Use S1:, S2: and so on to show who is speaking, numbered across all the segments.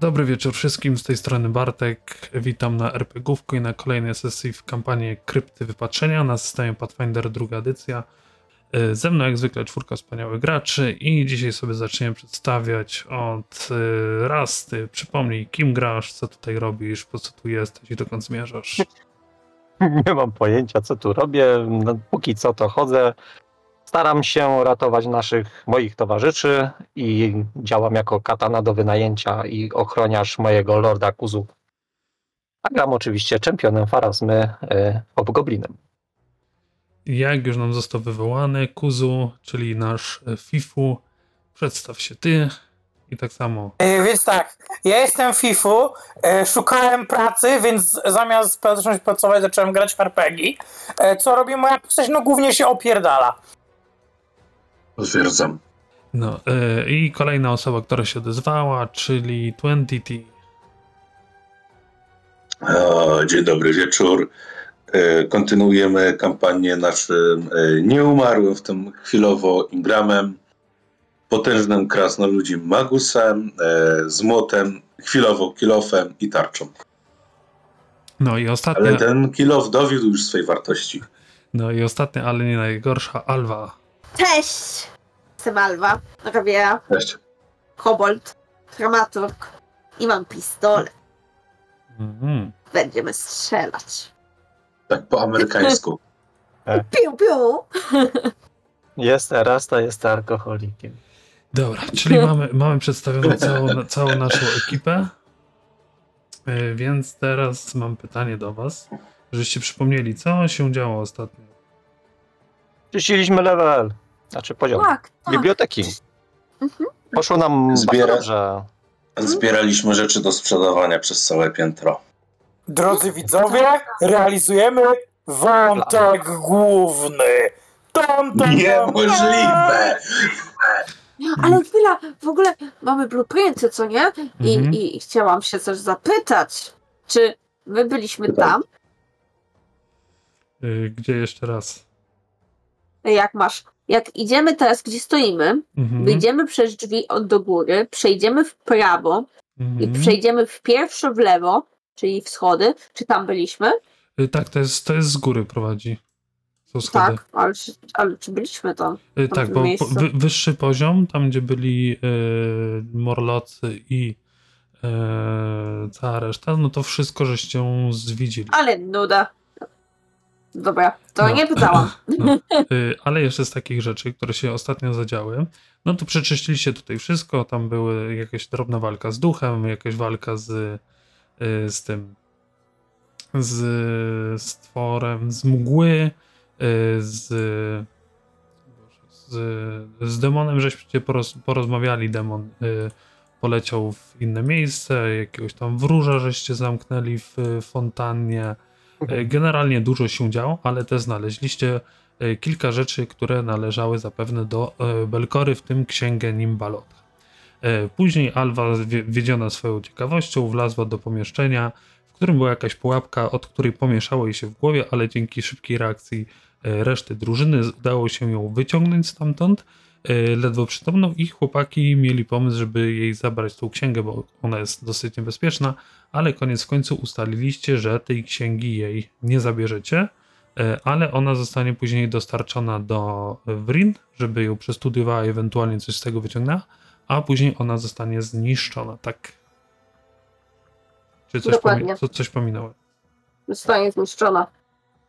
S1: Dobry wieczór wszystkim, z tej strony Bartek. Witam na RPGówku i na kolejnej sesji w kampanii Krypty Wypatrzenia na systemie Pathfinder druga edycja. Y, Ze mną jak zwykle czwórka wspaniałych graczy i dzisiaj sobie zaczniemy przedstawiać od y, Rasty. Przypomnij, kim grasz, co tutaj robisz, po co tu jesteś i dokąd zmierzasz.
S2: Nie mam pojęcia, co tu robię. No, póki co to chodzę. Staram się ratować naszych, moich towarzyszy i działam jako katana do wynajęcia i ochroniarz mojego lorda Kuzu. A gram oczywiście czempionem Farazmy y, obgoblinem.
S1: Jak już nam został wywołany, Kuzu, czyli nasz y, Fifu, przedstaw się ty i tak samo
S3: E, Więc tak, ja jestem FIFU, e, szukałem pracy, więc zamiast pra- zacząć pracować, zacząłem grać w RPG. E, Co robi moja postać? No głównie się opierdala.
S4: Potwierdzam.
S1: No y, i kolejna osoba, która się odezwała, czyli Twentity.
S4: O, E, dzień dobry wieczór. E, Kontynuujemy kampanię naszym e, nieumarłym w tym chwilowo Ingramem, potężnym krasnoludzim Magusem, e, z młotem, chwilowo kilofem i tarczą.
S1: No i ostatnia,
S3: Mhm.
S4: Ale ten kilof dowiódł już swej wartości.
S1: no i ostatnia, ale nie najgorsza, Alwa.
S5: Cześć! Jestem Alwa, robię
S4: Cześć.
S5: kobold, dramaturg i mam pistolet.
S1: Mhm.
S5: Będziemy strzelać.
S4: Tak po amerykańsku.
S5: Piu, piu!
S2: Jest Erasta, jest alkoholikiem.
S1: Dobra, czyli mamy, mamy przedstawioną całą, całą naszą ekipę. Y, Więc teraz mam pytanie do was, żeście przypomnieli, co się działo ostatnio.
S2: Czyściliśmy level, znaczy poziom
S5: Tak, tak.
S2: biblioteki.
S5: Mhm.
S2: Poszło nam
S4: Zbiera-
S2: bardzo dobrze.
S4: Zbieraliśmy rzeczy do sprzedawania przez całe piętro.
S3: Drodzy widzowie, realizujemy wątek główny. Tam, tam, tam.
S4: Niemożliwe!
S5: Ale chwila, w ogóle mamy blueprinty, co nie? I,
S1: Mhm.
S5: i, i chciałam się też zapytać, czy my byliśmy tam?
S1: Y, Gdzie jeszcze raz?
S5: Jak masz, jak idziemy teraz, gdzie stoimy,
S1: Mhm.
S5: wyjdziemy przez drzwi od do góry, przejdziemy w prawo i
S1: Mhm.
S5: przejdziemy w pierwsze w lewo, czyli w schody. Czy tam byliśmy?
S1: Y, Tak, to jest, to jest z góry prowadzi. Są schody.
S5: Tak, ale, czy- ale czy byliśmy tam?
S1: Y,
S5: Tam
S1: Tak,
S5: w
S1: bo po,
S5: miejscu.
S1: wy, wyższy poziom, tam gdzie byli y, Morlocy i y, cała reszta, no to wszystko żeście zwiedzili.
S5: Ale nuda. Dobra, to
S1: No.
S5: nie pytałam.
S1: No, y, ale jeszcze z takich rzeczy, które się ostatnio zadziały, no to przeczyściliście tutaj wszystko, tam były jakaś drobna walka z duchem, jakaś walka z, y, z tym, z stworem, z mgły, y, z, z, z demonem, żeście poroz, porozmawiali, demon y, poleciał w inne miejsce, jakiegoś tam wróża żeście zamknęli w y, fontannie, E, Generalnie dużo się działo, ale też znaleźliście e, kilka rzeczy, które należały zapewne do e, Belkory, w tym księgę Nimbalota. E, Później Alwa, zwie- wiedziona swoją ciekawością, wlazła do pomieszczenia, w którym była jakaś pułapka, od której pomieszało jej się w głowie, ale dzięki szybkiej reakcji e, reszty drużyny z- udało się ją wyciągnąć stamtąd, e, ledwo przytomną i chłopaki mieli pomysł, żeby jej zabrać tą księgę, bo ona jest dosyć niebezpieczna, ale koniec w końcu ustaliliście, że tej księgi jej nie zabierzecie, e, ale ona zostanie później dostarczona do Wrin, żeby ją przestudiowała i ewentualnie coś z tego wyciągnęła, a później ona zostanie zniszczona, tak? Czy coś,
S5: Dokładnie.
S1: pomi- co, coś pominąłem?
S5: Zostanie zniszczona.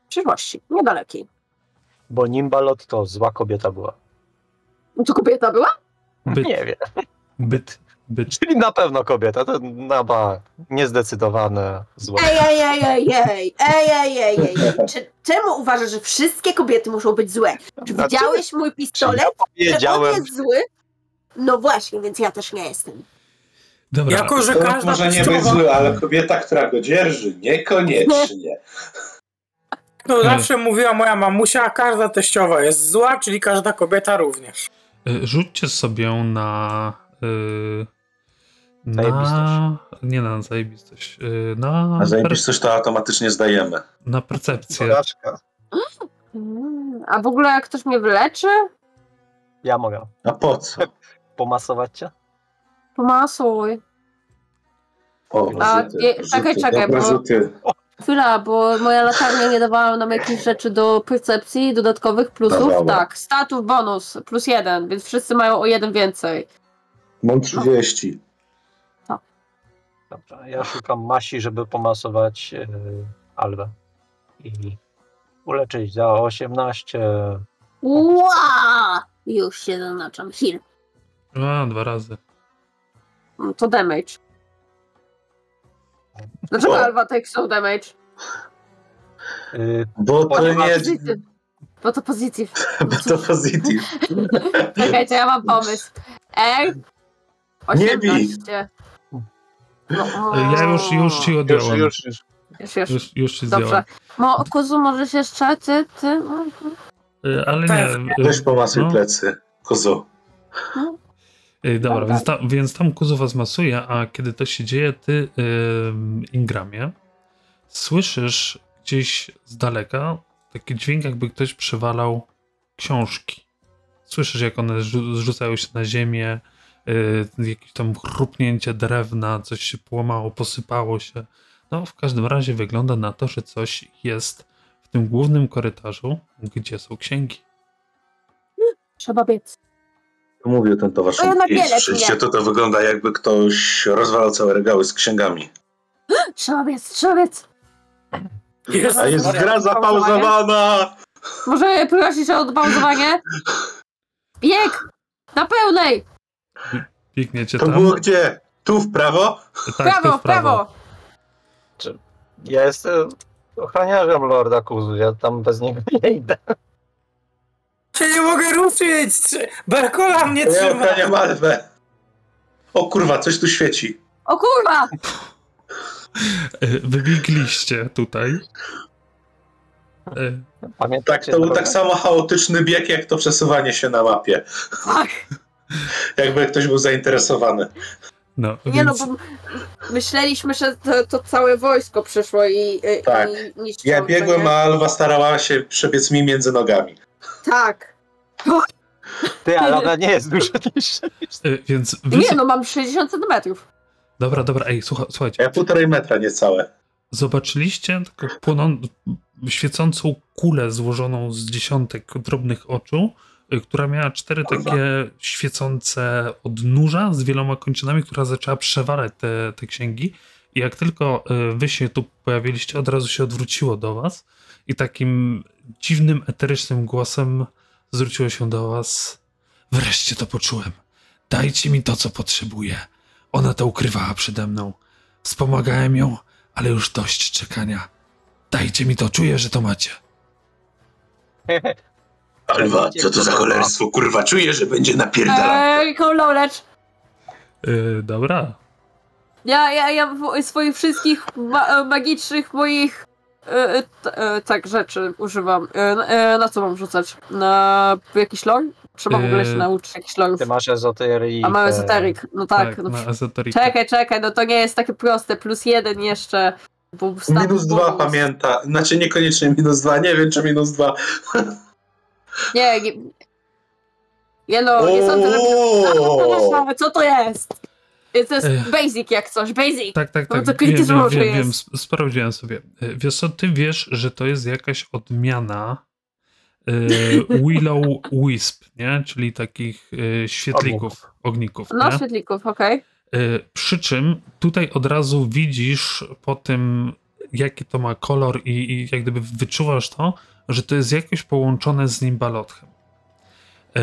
S5: W przyszłości, niedalekiej.
S2: Bo Nimbalot to zła kobieta była.
S5: To kobieta była?
S1: Byt,
S2: Nie wiem.
S1: byt, byt.
S2: Czyli na pewno kobieta, to na ba, niezdecydowane zło.
S5: Ej, ej, ej, ej, ej, ej, ej, ej, ej. Czy, czemu uważasz, że wszystkie kobiety muszą być złe? Czy
S2: Znaczy,
S5: widziałeś mój pistolet? Czy on
S2: Wiedziałem,
S5: jest zły? No właśnie, więc ja też nie jestem.
S1: Dobra,
S3: Jako, że
S4: To
S3: każda
S4: może nie
S3: płciowa-
S4: być zły, ale kobieta, która go dzierży, niekoniecznie.
S3: No zawsze mówiła moja mamusia, a każda teściowa jest zła, czyli każda kobieta również.
S1: y, rzućcie sobie na... Y, na...
S2: Zajebistość.
S1: Nie na zajebistość. y, Na,
S4: A
S1: per,
S4: zajebistość to automatycznie zdajemy.
S1: na percepcję.
S6: Porażka.
S5: Mm, A w ogóle jak ktoś mnie wyleczy?
S2: ja mogę
S4: A po co?
S2: pomasować cię.
S5: Pomasuj.
S4: O,
S5: A,
S4: rzuty,
S5: nie,
S4: rzuty,
S5: czekaj, czekaj,
S4: dobre
S5: bo-
S4: rzuty.
S5: Chwila, bo moja latarnia nie dawała nam jakichś rzeczy do percepcji, dodatkowych plusów.
S4: Dawała.
S5: Tak, statów bonus, plus jeden, więc wszyscy mają o jeden więcej.
S4: Mam 30.
S2: Dobra, ja szukam Masi, żeby pomasować e, Alwę. I uleczyć za 18.
S5: Ła! Już się zaznaczam. Heal.
S1: A, dwa razy. Y,
S5: Mm, To damage. Dlaczego
S4: O.
S5: Alva takes no damage?
S2: Y,
S4: Bo to
S2: Ponieważ-
S4: nie...
S5: Pozytyw. Bo to pozytyw.
S4: To positive.
S5: Czekajcie, ja mam pomysł. R.
S4: Nie bij.
S5: 18. No, o.
S1: E, Ja już, już ci
S2: Już,
S1: odjąłem.
S2: już, już.
S5: Już, już.
S1: Już, już ci
S5: Dobrze.
S1: zdjąłem.
S5: Mo, Kozu, możesz jeszcze? Ty, ty? Mhm.
S1: E, Ale nie. e,
S4: Weź pomasuj
S1: no.
S4: plecy. Kozo.
S1: Ej, Yy, Dobra,
S5: Dobra.
S1: więc, ta, więc tam Kuzu was masuje, a kiedy to się dzieje, ty, ym, Ingramie, słyszysz gdzieś z daleka taki dźwięk, jakby ktoś przewalał książki. Słyszysz, jak one zrzu- zrzucają się na ziemię, yy, jakieś tam chrupnięcie drewna, coś się połamało, posypało się. No, w każdym razie wygląda na to, że coś jest w tym głównym korytarzu, gdzie są księgi.
S5: Trzeba biec.
S4: Mówił ten towarzysz.
S5: To No, ja na
S4: I
S5: bielec
S4: Rzeczywiście
S5: miałem.
S4: to, to wygląda jakby ktoś rozwalał całe regały z księgami.
S5: Trzeba biec, trzeba biec.
S4: A jest
S5: Dobra,
S4: gra zapauzowana!
S5: Może prosić o odbałzowanie? Bieg! Na pełnej!
S1: Biegniecie
S4: To
S1: tam?
S4: było gdzie? Tu w prawo?
S1: Tak, tu
S5: prawo,
S1: w prawo.
S5: prawo!
S2: Ja jestem ochroniarzem Lorda Kuzu, ja tam bez niego nie idę.
S3: Się nie mogę ruszyć! Trzy- Berkola mnie
S4: Ja
S3: trzyma!
S4: ochraniam Alwę. O kurwa, coś tu świeci.
S5: O kurwa!
S1: E, Wybiegliście tutaj. E,
S4: Tak,
S2: Pamiętacie
S4: to był
S2: drogę?
S4: tak samo chaotyczny bieg, jak to przesuwanie się na mapie.
S5: Fuck.
S4: Jakby ktoś był zainteresowany.
S1: No,
S5: Nie no,
S1: więc,
S5: bo m- myśleliśmy, że to, to całe wojsko przyszło i, i,
S4: Tak.
S5: i niszczyło.
S4: Ja
S5: to,
S4: biegłem,
S5: nie?
S4: a Alwa starała się przebiec mi między nogami.
S5: Tak.
S2: Ty, ale ona nie jest dużo niższa.
S1: e, więc wy...
S5: Nie no, mam 60 centymetrów.
S1: Dobra, dobra, ej, słucha,
S4: A
S1: słuchajcie.
S4: Ja półtorej metra niecałe.
S1: Zobaczyliście taką płoną, świecącą kulę złożoną z dziesiątek drobnych oczu, y, która miała cztery
S4: Kurwa.
S1: takie świecące odnóża z wieloma kończynami, która zaczęła przewalać te, te księgi. I jak tylko y, wy się tu pojawiliście, od razu się odwróciło do was i takim dziwnym, eterycznym głosem zwróciło się do was. Wreszcie to poczułem. Dajcie mi to, co potrzebuję. Ona to ukrywała przede mną. Wspomagałem ją, ale już dość czekania. Dajcie mi to, czuję, że to macie.
S4: Alwa, co to za cholerstwo, kurwa, czuję, że będzie napierdalane.
S5: Eee,
S1: tak.
S5: Kołoleć.
S1: Yy, dobra.
S5: Ja, ja, ja w- swoich wszystkich ma e, magicznych moich e, e, t- e, tak rzeczy używam. E, n- e, na co mam rzucać? Na jakiś lore? Trzeba w ogóle się
S1: E,
S5: nauczyć jakichś lorów.
S2: Ty masz ezoteryk.
S5: A mamy esoteryk. No tak. no,
S1: na ezoterikę.
S5: czekaj, czekaj, no to nie jest takie proste. Plus jeden jeszcze. Bo status
S4: Minus dwa
S5: bonus.
S4: pamięta. Znaczy niekoniecznie minus dwa, nie wiem czy minus dwa.
S5: Nie, nie. Nie no, nie sądzę, że...
S4: Ooo!
S5: Co to jest? To jest
S1: Ech.
S5: basic jak coś, basic.
S1: Tak, tak,
S5: No
S1: tak.
S5: to
S1: wiem,
S5: krytyzm
S1: wiem,
S5: może
S1: wiem, wiem,
S5: jest.
S1: sp- sprawdziłem sobie. Yy, Wiesz co, ty wiesz, że to jest jakaś odmiana yy, Willow Wisp, nie? Czyli takich yy, świetlików, ogników.
S5: No,
S1: nie?
S5: świetlików, okej.
S1: Y, Przy czym tutaj od razu widzisz po tym, jaki to ma kolor i, i jak gdyby wyczuwasz to, że to jest jakoś połączone z nim balotchem. Y,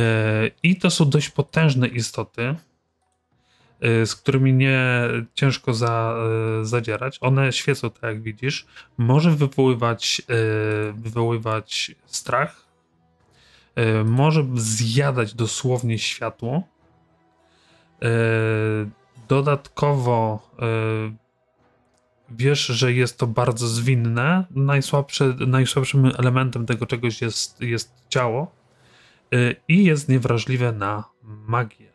S1: I to są dość potężne istoty, y, z którymi nie ciężko za, y, zadzierać. One świecą, tak jak widzisz. Może wywoływać, y, wywoływać strach. y, Może zjadać dosłownie światło. E, Dodatkowo e, wiesz, że jest to bardzo zwinne. Najsłabsze, najsłabszym elementem tego czegoś jest, jest ciało e, i jest niewrażliwe na magię.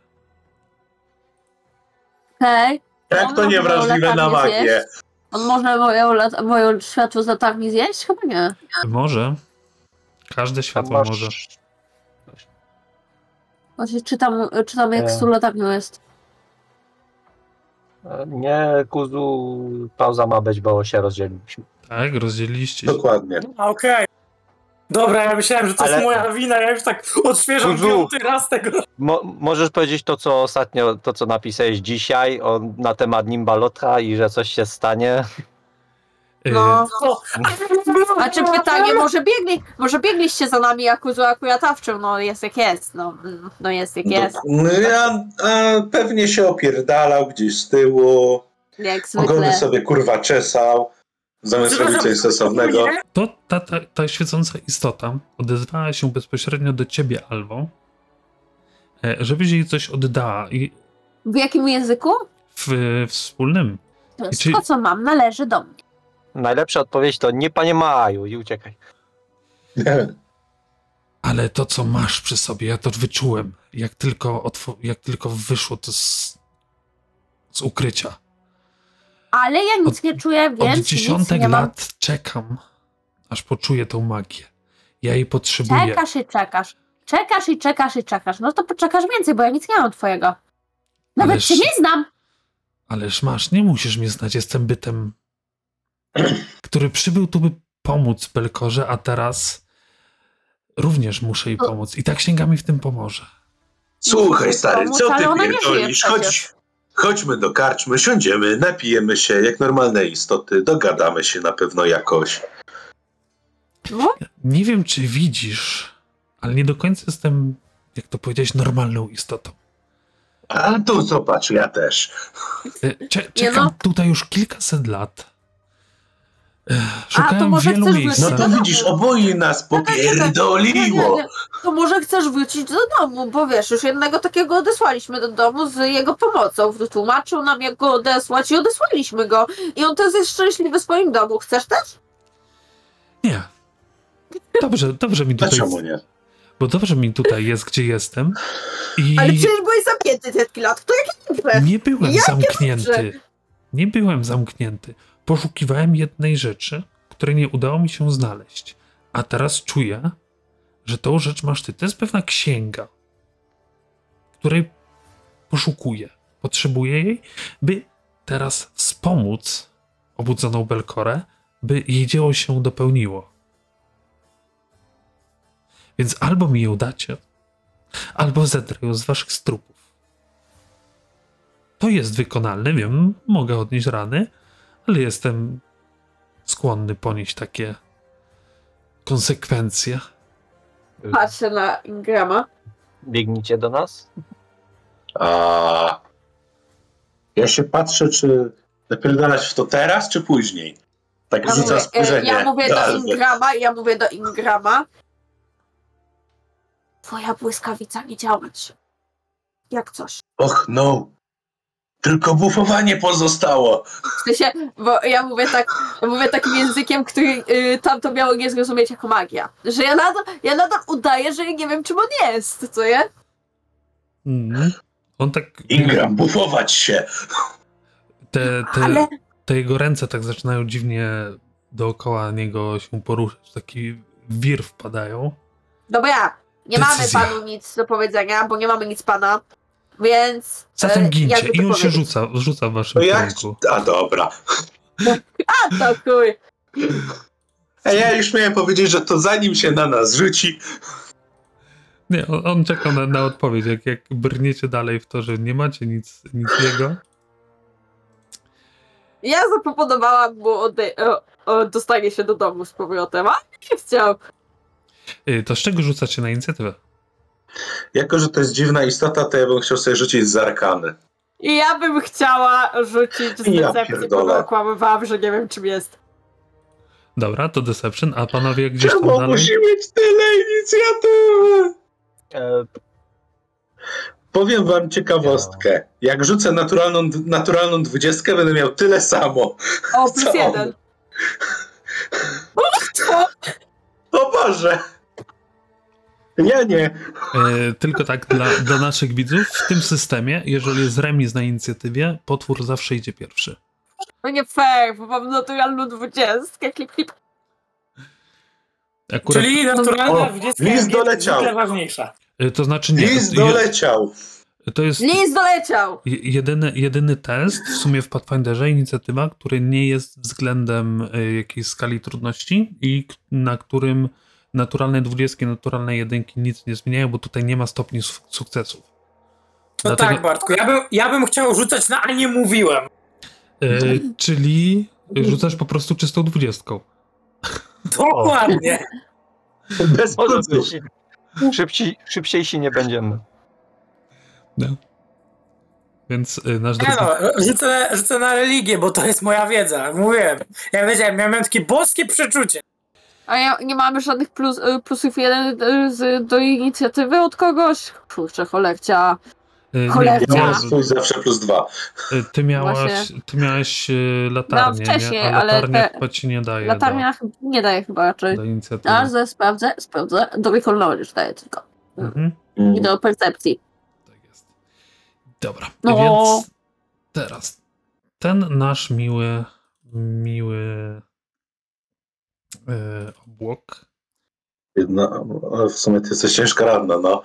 S5: Okej.
S4: Jak to
S5: Ona
S4: niewrażliwe
S5: wolała
S4: na
S5: tam
S4: magię?
S5: zjeść. On może moją, lat- moją światło z latarni zjeść? Chyba nie.
S1: Może. Każde światło może.
S5: Właśnie czytam, czytam jak
S2: E.
S5: z tą latarnią jest.
S2: E, Nie, Kuzu, pauza ma być, bo się rozdzieliliśmy.
S1: Tak, rozdzieliliście się.
S4: Dokładnie.
S3: A, Okej. Dobra, ja myślałem, że to
S2: Ale-
S3: jest moja wina, ja już tak odświeżam
S2: Guzu.
S3: piąty raz tego.
S2: Mo- możesz powiedzieć to, co ostatnio, to co napisałeś dzisiaj o, na temat Nimbalotra i że coś się stanie?
S1: Y,
S5: No. A czy
S3: Znaczy
S5: pytanie, może, biegli, może biegliście za nami jak kuzu akurat awczym, no jest jak jest, no, mm, no jest jak jest,
S4: No, ja a, pewnie się opierdalał gdzieś z tyłu,
S5: jak zwykle.
S4: ogony sobie kurwa czesał, zamiast robić coś stosownego.
S1: To ta, ta, ta świecąca istota odezwała się bezpośrednio do ciebie, Alwo, e, żebyś jej coś oddała i
S5: W jakim języku?
S1: w, y, wspólnym.
S5: To
S1: I czy-
S5: wszystko, co mam, należy do mnie.
S2: Najlepsza odpowiedź to nie, panie Maju, i uciekaj.
S1: Ale to, co masz przy sobie, ja to wyczułem. Jak tylko, otw- jak tylko wyszło to z, z ukrycia.
S5: Ale ja nic
S1: Od-
S5: nie czuję,
S1: Od
S5: więc nic
S1: dziesiątek
S5: nie mam.
S1: lat czekam, aż poczuję tą magię. Ja jej potrzebuję.
S5: Czekasz i czekasz. Czekasz i czekasz i czekasz. No to poczekasz więcej, bo ja nic nie mam twojego. Nawet
S1: Ależ-
S5: się nie znam.
S1: Ależ masz, nie musisz mnie znać, jestem bytem, który przybył tu, by pomóc Belkorze, a teraz również muszę jej
S5: O.
S1: pomóc. I ta księga mi w tym pomoże.
S4: Słuchaj, stary,
S5: Pomóc,
S4: co ty
S5: ale ona nie żyje
S4: pierdolisz? Chodź,
S5: przecież.
S4: chodźmy do karczmy, siądziemy, napijemy się jak normalne istoty, dogadamy się na pewno jakoś.
S5: No,
S1: Nie wiem, czy widzisz, ale nie do końca jestem, jak to powiedziałeś, normalną istotą.
S4: A tu zobacz, ja też.
S1: E, Cze- czekam
S5: no.
S1: tutaj już kilkaset lat. Ech,
S5: to
S1: Szukałem
S5: może
S1: wielu
S5: chcesz
S1: miejsc.
S4: No
S5: wrócić
S4: to
S5: Tak.
S4: widzisz, oboje nas
S5: No Nie, tak. No nie, nie.
S4: popierdoliło.
S5: To może chcesz wrócić do domu, bo wiesz, już jednego takiego odesłaliśmy do domu z jego pomocą. Wytłumaczył nam, jak go odesłać i odesłaliśmy go. I on teraz jest szczęśliwy w swoim domu. Chcesz też?
S1: Nie. Dobrze, dobrze mi tutaj,
S4: Dlaczego nie?
S1: bo dobrze mi tutaj jest, gdzie jestem. I
S5: Ale przecież byłeś zamknięty setki lat. To jaki niby?
S1: nie byłem
S5: Jakie dobrze.
S1: zamknięty. Nie byłem zamknięty. Poszukiwałem jednej rzeczy, której nie udało mi się znaleźć. A teraz czuję, że tą rzecz masz ty. To jest pewna księga, której poszukuję. Potrzebuję jej, by teraz wspomóc obudzoną Belkorę, by jej dzieło się dopełniło. Więc albo mi ją dacie, albo zedrę ją z waszych strupów. To jest wykonalne, wiem, mogę odnieść rany, ale jestem skłonny ponieść takie konsekwencje.
S5: Patrzę na Ingrama.
S2: Biegnijcie do nas?
S4: A ja się patrzę, czy napierdalać w to teraz, czy później. Tak
S5: Ja
S4: rzuca Tak.
S5: mówię, e,
S4: spojrzenie.
S5: ja mówię
S4: do
S5: do
S4: Alwy.
S5: Ingrama, ja mówię do Ingrama. Twoja błyskawica nie działać. Jak coś.
S4: Och no. Tylko bufowanie pozostało.
S5: W sensie, bo ja mówię tak, ja mówię takim językiem, który y, tamto miało nie zrozumieć jako magia. Że ja nadal, ja nadal udaję, że ja nie wiem czym on jest, co nie?
S1: Mhm. On tak.
S4: Ingram, bufować się.
S1: Te, te,
S5: Ale-
S1: te jego ręce tak zaczynają dziwnie dookoła niego się poruszać. Taki wir wpadają.
S5: Dobra, no nie
S1: Decyzja.
S5: mamy panu nic do powiedzenia, bo nie mamy nic pana, więc... e,
S1: Zatem gincie.
S5: jakby to
S1: I on się
S5: powiedzieć?
S1: rzuca, rzuca w waszym
S4: To jak-
S1: kierunku.
S4: A dobra.
S5: A to chuj.
S4: A ja już miałem powiedzieć, że to zanim się na nas rzuci.
S1: Nie, on, on czeka na, na odpowiedź. Jak, jak brniecie dalej w to, że nie macie nic, nic jego.
S5: Ja zaproponowałam mu odej- o, o, dostanie się do domu z powrotem, a nie chciał.
S1: Y, To z czego rzucacie na inicjatywę?
S4: Jako, że to jest dziwna istota, to ja bym chciał sobie rzucić z arkany.
S5: I ja bym chciała rzucić z
S4: Ja
S5: decepcji, bo
S4: pierdolę.
S5: go okłamywałam, że nie wiem czym jest.
S1: Dobra, to deception, a panowie gdzieś tam
S4: Czemu
S1: dalej?
S4: musi mieć tyle inicjatywy?
S2: E,
S4: Powiem wam ciekawostkę. Jak rzucę naturalną, naturalną dwudziestkę, będę miał tyle samo.
S5: O, plus
S4: Co?
S5: jeden. O, co?
S4: O Boże! Ja nie.
S1: E, tylko tak dla, dla naszych widzów, w tym systemie, jeżeli jest remis na inicjatywie, potwór zawsze idzie pierwszy.
S5: No nie fair, bo mam naturalną dwudziestkę, klip, klip.
S1: Akurat,
S3: Czyli
S5: O,
S3: naturalna 20
S4: list
S3: jest
S4: doleciał.
S3: zwykle ważniejsza.
S1: e, to znaczy nie.
S4: Lis
S1: to, je,
S4: doleciał.
S1: To jest
S5: Lis doleciał!
S1: je- jedyny, jedyny test w sumie w Pathfinderze, inicjatywa, który nie jest względem y, jakiejś skali trudności i k- na którym naturalne dwudziestki, naturalne jedynki nic nie zmieniają, bo tutaj nie ma stopni su- sukcesów.
S3: No tak, Bartku, ja bym, ja bym chciał rzucać na a nie mówiłem.
S1: y, czyli rzucasz po prostu czystą dwudziestką.
S3: Dokładnie.
S2: Bez podwyżki. Szybci, szybciejsi nie będziemy.
S1: Więc y, nasz
S3: Nie
S1: drogi...
S3: no, rzucę, rzucę na religię, bo to jest moja wiedza. Mówiłem. Ja wiedziałem, miałem takie boskie przeczucie.
S5: A ja nie mamy żadnych plus, y, plusów jeden y, z, do inicjatywy od kogoś? Kurczę, cholercia.
S1: y, nie,
S5: Cholera.
S4: Ja mam
S1: miałeś-
S4: swój zawsze plus dwa.
S1: y, ty miałaś,
S5: Właśnie.
S1: ty miałaś y, latarnię,
S5: No, wcześniej,
S1: nie? a
S5: ale
S1: latarnia
S5: te-
S1: chyba ci nie daje
S5: Latarnia chyba- nie daje chyba
S1: do,
S5: raczej.
S1: do inicjatywy.
S5: Ale ze- sprawdzę, sprawdzę. Do wykonalności daje tylko.
S1: Mhm.
S5: I do percepcji.
S1: Tak jest. Dobra,
S5: No.
S1: więc teraz ten nasz miły, miły e, obłok.
S4: Jedna, a No, w sumie to jesteś ciężka radna, no.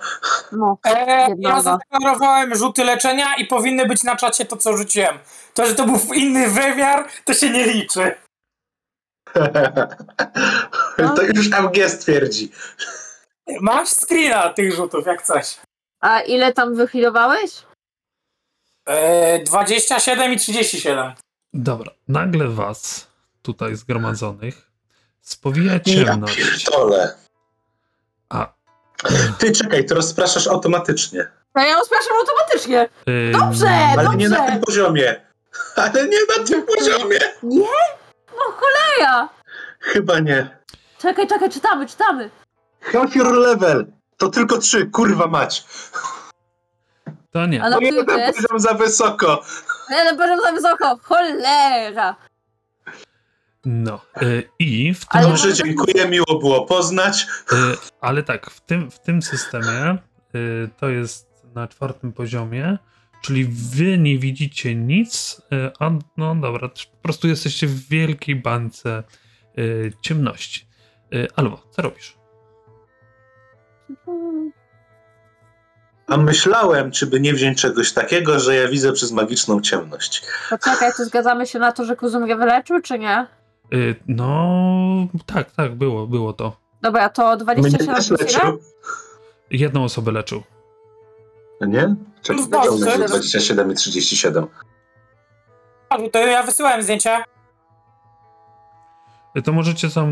S5: No.
S3: E,
S5: Jednego.
S3: ja zadeklarowałem rzuty leczenia i powinny być na czacie to, co rzuciłem. To, że to był inny wymiar, to się nie liczy.
S4: to już MG stwierdzi.
S3: Masz screena tych rzutów, jak coś.
S5: A ile tam wychilowałeś?
S3: E, 27 i 37.
S1: Dobra, nagle was tutaj zgromadzonych spowija
S4: Ja
S1: ciemność.
S4: pierdolę.
S1: A,
S4: Ty czekaj, to rozpraszasz automatycznie.
S5: No ja rozpraszam automatycznie.
S1: y,
S5: Dobrze!
S4: Ale nie na
S5: Dobrze.
S4: tym poziomie. Ale nie na tym poziomie.
S5: No choleja!
S4: Chyba nie.
S5: Czekaj, czekaj, czytamy, czytamy.
S4: Half your level. To tylko trzy, kurwa mać.
S1: To nie.
S5: A na
S4: To
S5: tył
S4: jeden
S5: No, jest.
S4: poziom za wysoko.
S5: Nie, na poziom za wysoko. Cholera!
S1: No. y, I w tym
S5: Ale- tak.
S4: Dobrze, dziękuję, miło było poznać.
S1: Y, Ale tak, w tym, w tym systemie y, to jest na czwartym poziomie, czyli wy nie widzicie nic, y, a no dobra, t- po prostu jesteście w wielkiej bańce y, ciemności. Y, Albo, co robisz?
S4: A myślałem, czy by nie wziąć czegoś takiego, że ja widzę przez magiczną ciemność.
S5: Poczekaj, czy zgadzamy się na to, że kuzum mnie wyleczył, czy nie?
S1: Y, No, tak, tak, było, było to.
S5: Dobra, to 27 rzuciłem?
S1: Jedną osobę leczył.
S4: Nie? Czekaj,
S3: W
S4: dlaczego
S3: Polsce.
S4: będzie 27 i 37.
S3: A, To ja wysyłałem zdjęcia.
S1: Y, To możecie sam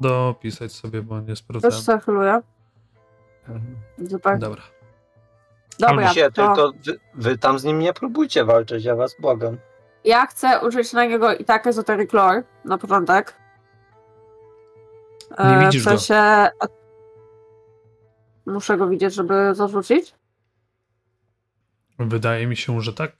S1: dopisać sobie, bo nie
S5: Już
S1: sprawdzałem.
S5: sobie chluję. Dobra,
S1: Dobra.
S5: Dobra
S2: Się,
S5: to
S2: tylko wy, wy tam z nim nie próbujcie walczyć, ja was błagam.
S5: ja chcę użyć na niego i tak esoteric lore na początek.
S1: Nie
S5: E,
S1: widzisz
S5: w sensie... a- Muszę go widzieć, żeby zarzucić?
S1: Wydaje mi się, że tak.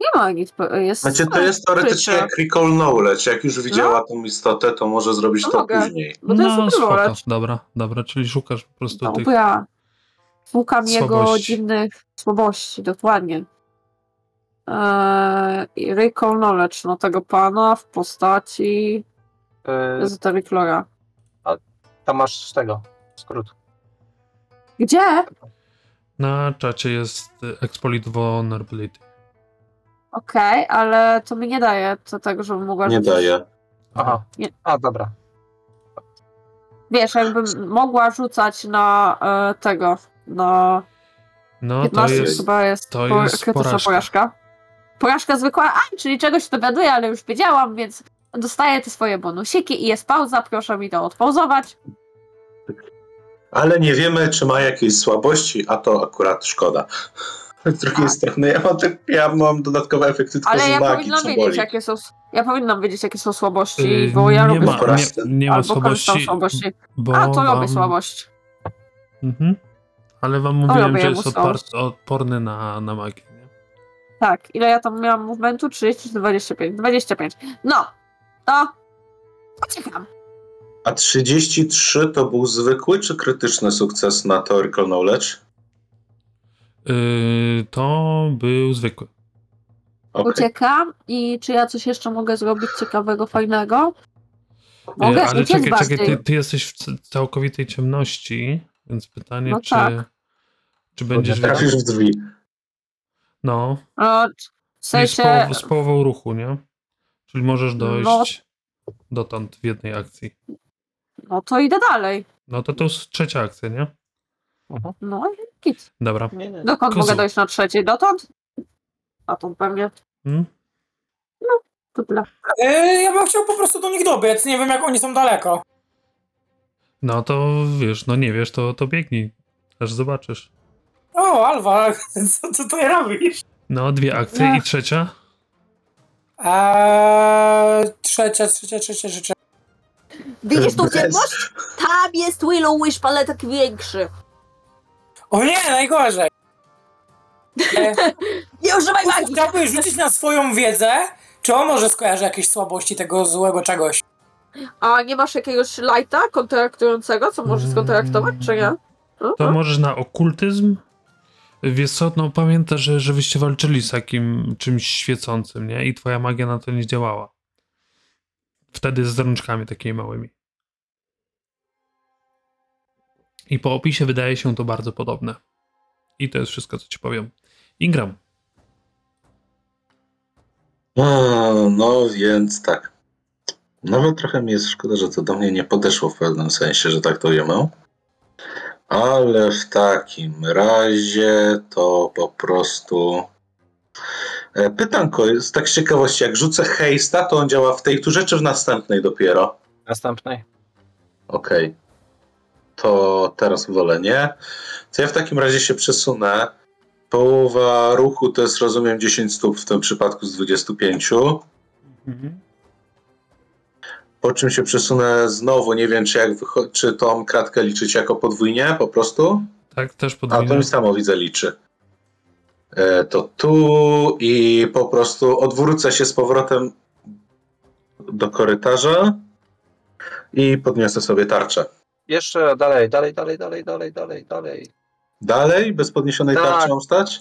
S5: Nie ma nic, bo jest...
S4: Znaczy, to
S5: No,
S4: jest teoretycznie
S5: Krycie.
S4: jak Recall Knowledge. Jak już widziała tą istotę, to może zrobić
S5: No
S4: to
S5: mogę.
S4: później.
S5: Bo to
S1: no,
S5: jest No,
S1: spoko.
S5: lore.
S1: Dobra, dobra, czyli szukasz po prostu tych...
S5: Dobra. Szukam jego
S1: Słabości.
S5: dziwnych słabości, dokładnie. Eee, i Recall Knowledge, no tego pana w postaci
S2: Yy,
S5: Esoteric Lora.
S2: tam masz z tego, skrót.
S5: Gdzie?
S1: Na czacie jest y, Exploit Vulnerability.
S5: Okej, ale to mi nie daje do tego, żebym mogła...
S4: Nie
S5: rzucić.
S4: daje.
S2: Aha,
S5: Nie.
S2: a dobra.
S5: Wiesz, jakbym mogła rzucać na e, tego, na
S1: No to
S5: 15
S1: jest.
S5: chyba jest,
S1: to
S5: po-
S1: jest
S5: krytyczna
S1: porażka.
S5: porażka. Porażka zwykła, a, czyli czegoś się dowiaduję, ale już wiedziałam, więc dostaję te swoje bonusiki i jest pauza, proszę mi to odpauzować.
S4: Ale nie wiemy, czy ma jakieś słabości, a to akurat szkoda. Z drugiej
S5: Tak.
S4: strony, ja mam, te, ja mam dodatkowe efekty tylko
S5: Ale
S4: z
S5: ja
S4: magii,
S5: powinnam
S4: co
S5: wiedzieć,
S4: boli.
S5: jakie są. Ja powinnam wiedzieć, jakie są słabości,
S1: Y,
S5: bo ja
S1: nie
S5: robię
S1: ma,
S5: słabości.
S1: nie, nie ma
S5: Albo korzystam
S1: słabości.
S5: z słabości.
S1: Bo
S5: A, to
S1: wam,
S5: robię słabość.
S1: Mhm. Ale wam mówiłem,
S5: robię
S1: że
S5: mu
S1: jest
S5: słabość.
S1: odpar- odporny na, na magię. Nie?
S5: Tak, ile ja tam miałam movementu? 30 czy 25? 25. No, to uciekam.
S4: A 33 to był zwykły czy krytyczny sukces na Theoretical Knowledge?
S1: Y, to był zwykły. Y,
S4: Okej.
S5: Uciekam i czy ja coś jeszcze mogę zrobić ciekawego, fajnego?
S1: Y,
S5: Mogę
S1: ale
S5: uciec
S1: czekaj,
S5: bardziej.
S1: czekaj, ty, ty jesteś w c- całkowitej ciemności, więc pytanie,
S5: No
S1: czy,
S5: tak.
S1: czy będziesz
S2: Kurde,
S1: wiedział.
S4: Trafisz w drzwi.
S1: No,
S5: No, w
S1: Czyli z,
S5: sensie,
S1: poł- z połową ruchu, nie? Czyli możesz
S5: No.
S1: dojść dotąd w jednej akcji.
S5: no to idę dalej.
S1: No to to jest trzecia akcja, nie?
S5: No i git.
S1: Dobra.
S2: Nie, nie.
S5: Dokąd
S1: Kozu.
S5: mogę dojść na trzeciej? Dotąd? Dotąd pewnie.
S1: Hmm?
S5: To tyle.
S3: E, ja bym chciał po prostu do nich dobiec, nie wiem jak oni są daleko.
S1: No to wiesz, no nie wiesz, to, to biegnij. Aż zobaczysz.
S3: O, Alwa, co ty tutaj robisz?
S1: No, dwie akcje
S5: No.
S1: i trzecia.
S3: Eee, trzecia, trzecia, trzecia, trzecia.
S5: Widzisz tą
S4: Bez.
S5: ciemność? Tam jest Willow Wish, ale tak większy.
S3: O nie, najgorzej. E,
S5: Nie używaj magii!
S3: Chciałbym rzucić na swoją wiedzę, czy on może skojarzy jakieś słabości tego złego czegoś.
S5: A nie masz jakiegoś lighta kontraktującego, co
S4: Mm.
S5: możesz skontraktować, czy nie? No,
S1: To
S5: no.
S1: możesz na okultyzm. Wiesz co, no pamiętasz, że, że wyście walczyli z takim czymś świecącym, nie? I twoja magia na to nie działała. Wtedy z rączkami takimi małymi. I po opisie wydaje się to bardzo podobne. I to jest wszystko, co ci powiem. Ingram.
S4: O, no więc tak. Nawet trochę mi jest szkoda, że to do mnie nie podeszło w pewnym sensie, że tak to ujmę. Ale w takim razie to po prostu. E, Pytanko, jest tak z ciekawości, jak rzucę hejsta, to on działa w tej turze czy w następnej dopiero?
S2: Następnej.
S4: Okej. To teraz wolę nie. To ja w takim razie się przesunę. Połowa ruchu to jest, rozumiem, 10 stóp w tym przypadku z 25. Po czym się przesunę znowu, nie wiem czy, jak wycho- czy tą kratkę liczyć jako podwójnie po prostu.
S1: Tak, też
S4: A to
S1: podwójnie.
S4: mi samo widzę liczy. E, to tu i po prostu odwrócę się z powrotem do korytarza i podniosę sobie tarczę.
S2: Jeszcze dalej, dalej, dalej, dalej, dalej, dalej, dalej.
S4: Dalej, bez podniesionej
S2: Tak.
S4: tarczy mam stać?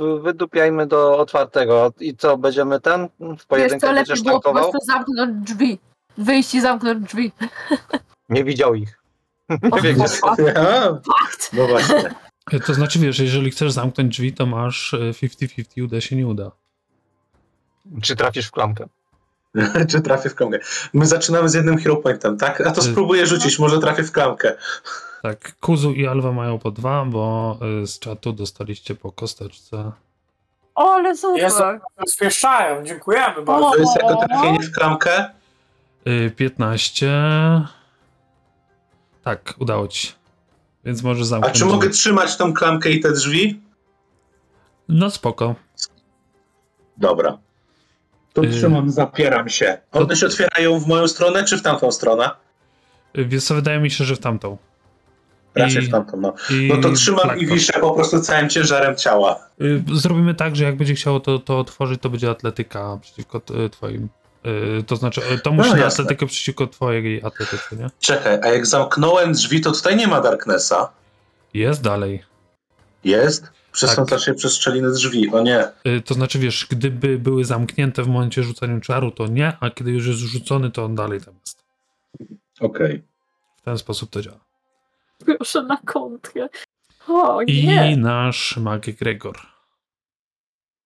S2: W- Wydupiajmy do otwartego. I co, będziemy ten w
S5: Wiesz co,
S2: pojedynkę
S5: lepiej
S2: będziesz
S5: było po
S2: tankował?
S5: prostu zamknąć drzwi. Wyjść i zamknąć drzwi.
S2: Nie widział ich.
S5: O,
S2: Nie wiem, gdzie
S5: fuck.
S4: Ja? No właśnie.
S1: To znaczy, wiesz, jeżeli chcesz zamknąć drzwi, to masz e, 50-50, uda się, nie uda.
S2: Czy trafisz w klamkę?
S4: Czy trafię w klamkę? My zaczynamy z jednym hero pointem, tak? A to
S1: Y-
S4: spróbuję rzucić, może trafię w klamkę.
S1: Tak, Kuzu i Alwa mają po dwa, bo y, z czatu dostaliście po kosteczce.
S5: O, ale super.
S3: Jezu. Spieszają, dziękujemy bardzo.
S5: O.
S4: To jest jako trafienie w klamkę.
S1: Y, 15. Tak, udało ci. się. Więc może
S4: A
S1: zamknąć.
S4: czy mogę
S1: drzwi.
S4: trzymać tą klamkę i te drzwi?
S1: No spoko.
S4: Dobra. To
S1: Y-
S4: trzymam, zapieram się. One się otwierają w moją stronę, czy w tamtą stronę?
S1: Y, Więc co, wydaje mi się, że w tamtą.
S4: Raczej
S1: I-
S4: w tamtą, no.
S1: I
S4: No to trzymam i
S1: lekko.
S4: wiszę po prostu całym ciężarem ciała.
S1: Y, Zrobimy tak, że jak będzie chciało to, to otworzyć, to będzie atletyka przeciwko y, twoim. y, To znaczy, y, to musi na
S4: No, jasne.
S1: atletykę przeciwko twojej atletyce, nie?
S4: Czekaj, a jak zamknąłem drzwi, to tutaj nie ma Darknessa.
S1: Jest dalej.
S4: Jest? Przesądzasz
S1: Tak.
S4: się przez szczeliny drzwi, o nie.
S1: Y, To znaczy, wiesz, gdyby były zamknięte w momencie rzucania czaru, to nie, a kiedy już jest rzucony, to on dalej tam jest.
S4: Okej.
S1: W ten sposób to działa.
S5: Proszę na kontrę. O
S1: I
S5: nie.
S1: nasz mag Gregor.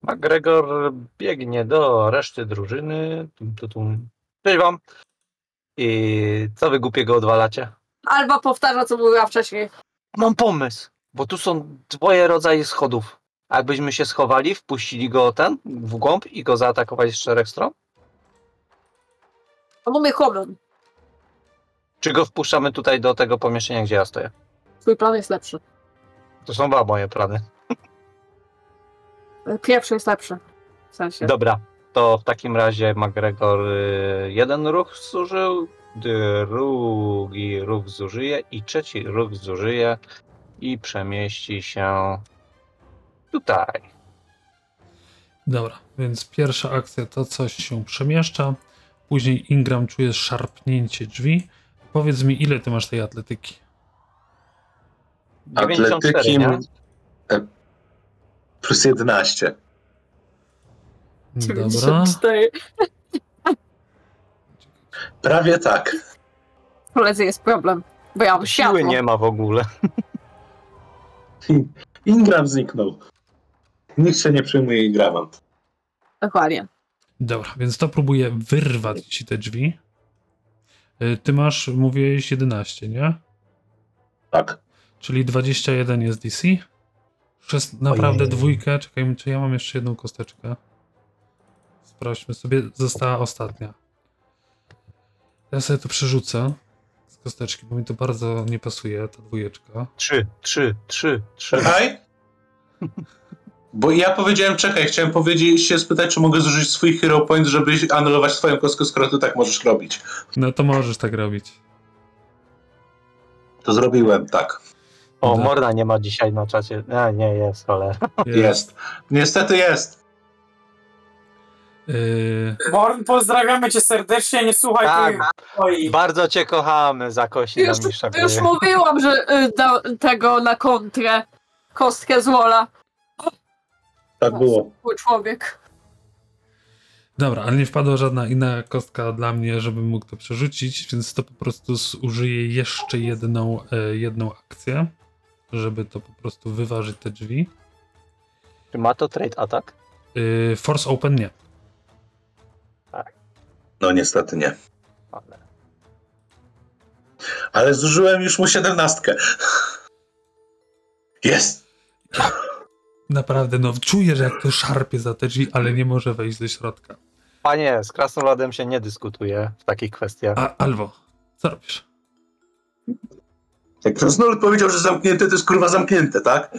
S2: McGregor biegnie do reszty drużyny. Tum, tum, tum. Cześć wam. I co wy głupiego odwalacie?
S5: Alba powtarza, co mówiła wcześniej.
S2: Mam pomysł, bo tu są dwoje rodzaje schodów. A Jakbyśmy się schowali, wpuścili go ten w głąb i go zaatakowali z czterech stron?
S5: On umie homen.
S2: Czy go wpuszczamy tutaj do tego pomieszczenia, gdzie ja stoję?
S5: Twój plan jest lepszy.
S2: To są dwa moje plany.
S5: E, Pierwszy jest lepszy. W sensie.
S2: Dobra, to w takim razie McGregor y, jeden ruch zużył, drugi ruch zużyje i trzeci ruch zużyje i przemieści się tutaj.
S1: Dobra, więc pierwsza akcja to coś się przemieszcza. Później Ingram czuje szarpnięcie drzwi. Powiedz mi, ile ty masz tej atletyki?
S2: 94,
S4: Atletyki
S2: nie?
S4: e, plus 11.
S1: Dobra.
S5: 94.
S4: Prawie tak.
S5: Koledzy jest problem. Bo ja mam światło.
S2: Siły nie ma w ogóle.
S4: Ingram zniknął. Nikt się nie przejmuje i gra wam.
S5: Dokładnie.
S1: Dobra, więc to próbuję wyrwać ci te drzwi. Y, Ty masz, mówiłeś 11, nie?
S4: Tak.
S1: Czyli 21 jest DC. Przez naprawdę
S2: Ojej.
S1: dwójkę. Czekaj, czy ja mam jeszcze jedną kosteczkę? Sprawdźmy sobie. Została ostatnia. Ja sobie to przerzucę z kosteczki, bo mi to bardzo nie pasuje, ta dwójeczka.
S2: Trzy, trzy, trzy, trzy.
S4: Czekaj. Bo ja powiedziałem, czekaj, chciałem powiedzieć się spytać, czy mogę zużyć swój hero point, żeby anulować swoją kostkę, skoro ty tak możesz robić.
S1: No to możesz tak robić.
S4: To zrobiłem, tak.
S2: O,
S1: Da.
S2: Morna nie ma dzisiaj na czacie. A, nie, jest, ale...
S4: Jest. Niestety jest.
S1: Y,
S3: Born, pozdrawiamy cię serdecznie, nie słuchaj
S2: Tak.
S3: tych swoich.
S2: Bardzo cię kochamy, zakosi na
S5: Już,
S2: mistrza gry.
S5: już mówiłam, że y, da, tego na kontrę kostkę z Wola.
S4: Tak było.
S5: Był człowiek.
S1: Dobra, ale nie wpadła żadna inna kostka dla mnie, żebym mógł to przerzucić, więc to po prostu zużyję jeszcze jedną, e, jedną akcję, żeby to po prostu wyważyć te drzwi.
S2: Czy ma to trade attack?
S1: Y, force Open nie.
S4: No niestety nie.
S2: Ale...
S4: Ale zużyłem już mu siedemnastkę. Jest.
S1: Naprawdę, no czuję, że jak to szarpie za te drzwi, ale nie może wejść do środka.
S2: Panie, z Krasnoludem się nie dyskutuje w takich kwestiach.
S1: A, Alwo, co robisz?
S4: Jak Krasnolud powiedział, że zamknięte, to jest kurwa zamknięte, tak?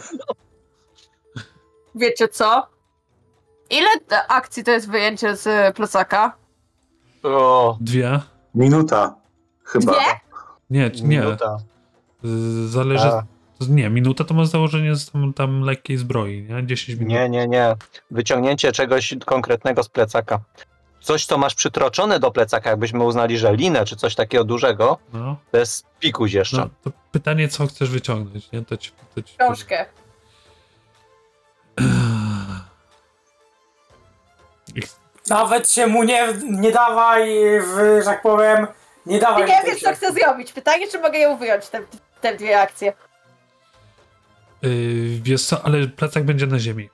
S5: Wiecie co? Ile t- akcji to jest wyjęcie z y, plecaka?
S2: O,
S1: Dwie?
S4: Minuta. Chyba.
S5: Dwie?
S1: Nie, nie.
S2: minuta.
S1: Y, Zależy.
S2: A,
S1: Nie, minuta to ma założenie z tam, tam lekkiej zbroi, nie? 10 minut.
S2: nie, nie, nie. Wyciągnięcie czegoś konkretnego z plecaka. Coś, co masz przytroczone do plecaka, jakbyśmy uznali, że linę czy coś takiego dużego,
S1: No,
S2: to jest pikuś jeszcze.
S1: no, to pytanie, co chcesz wyciągnąć, nie? To ci, to ci
S5: Książkę.
S3: Nawet się mu nie, nie dawaj, w, że tak powiem, nie dawaj.
S5: Nie
S3: mu tej
S5: wiem, co
S3: książki.
S5: chcę zrobić. Pytanie, czy mogę ją wyjąć, te, te dwie akcje.
S1: Yy, wiesz co, ale plecak będzie na ziemi.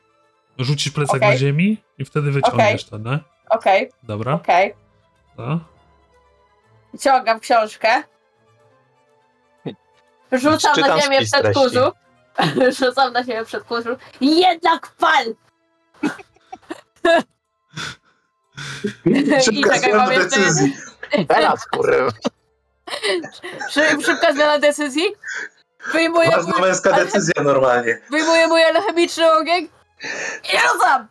S1: Rzucisz plecak
S5: Okej.
S1: na ziemi i wtedy wyciągniesz to, nie?
S5: Okej,
S1: Dobra.
S5: okej.
S1: No.
S5: Ciągam książkę. Rzucam
S2: Czytam
S5: na ziemię
S2: spis treści.
S5: przed kurzu. Rzucam na ziemię przed kurzu. Jednak pal! I
S4: Szybka
S5: czekaj, mam
S4: zmiana
S5: jeszcze jeden.
S4: decyzji.
S2: Teraz, kurwa.
S5: Szy- Szybka zmiana decyzji. Wyjmuję
S4: Ważna
S5: mój,
S4: męska decyzja normalnie.
S5: wyjmuję mój alchemiczny ogień i rzucam!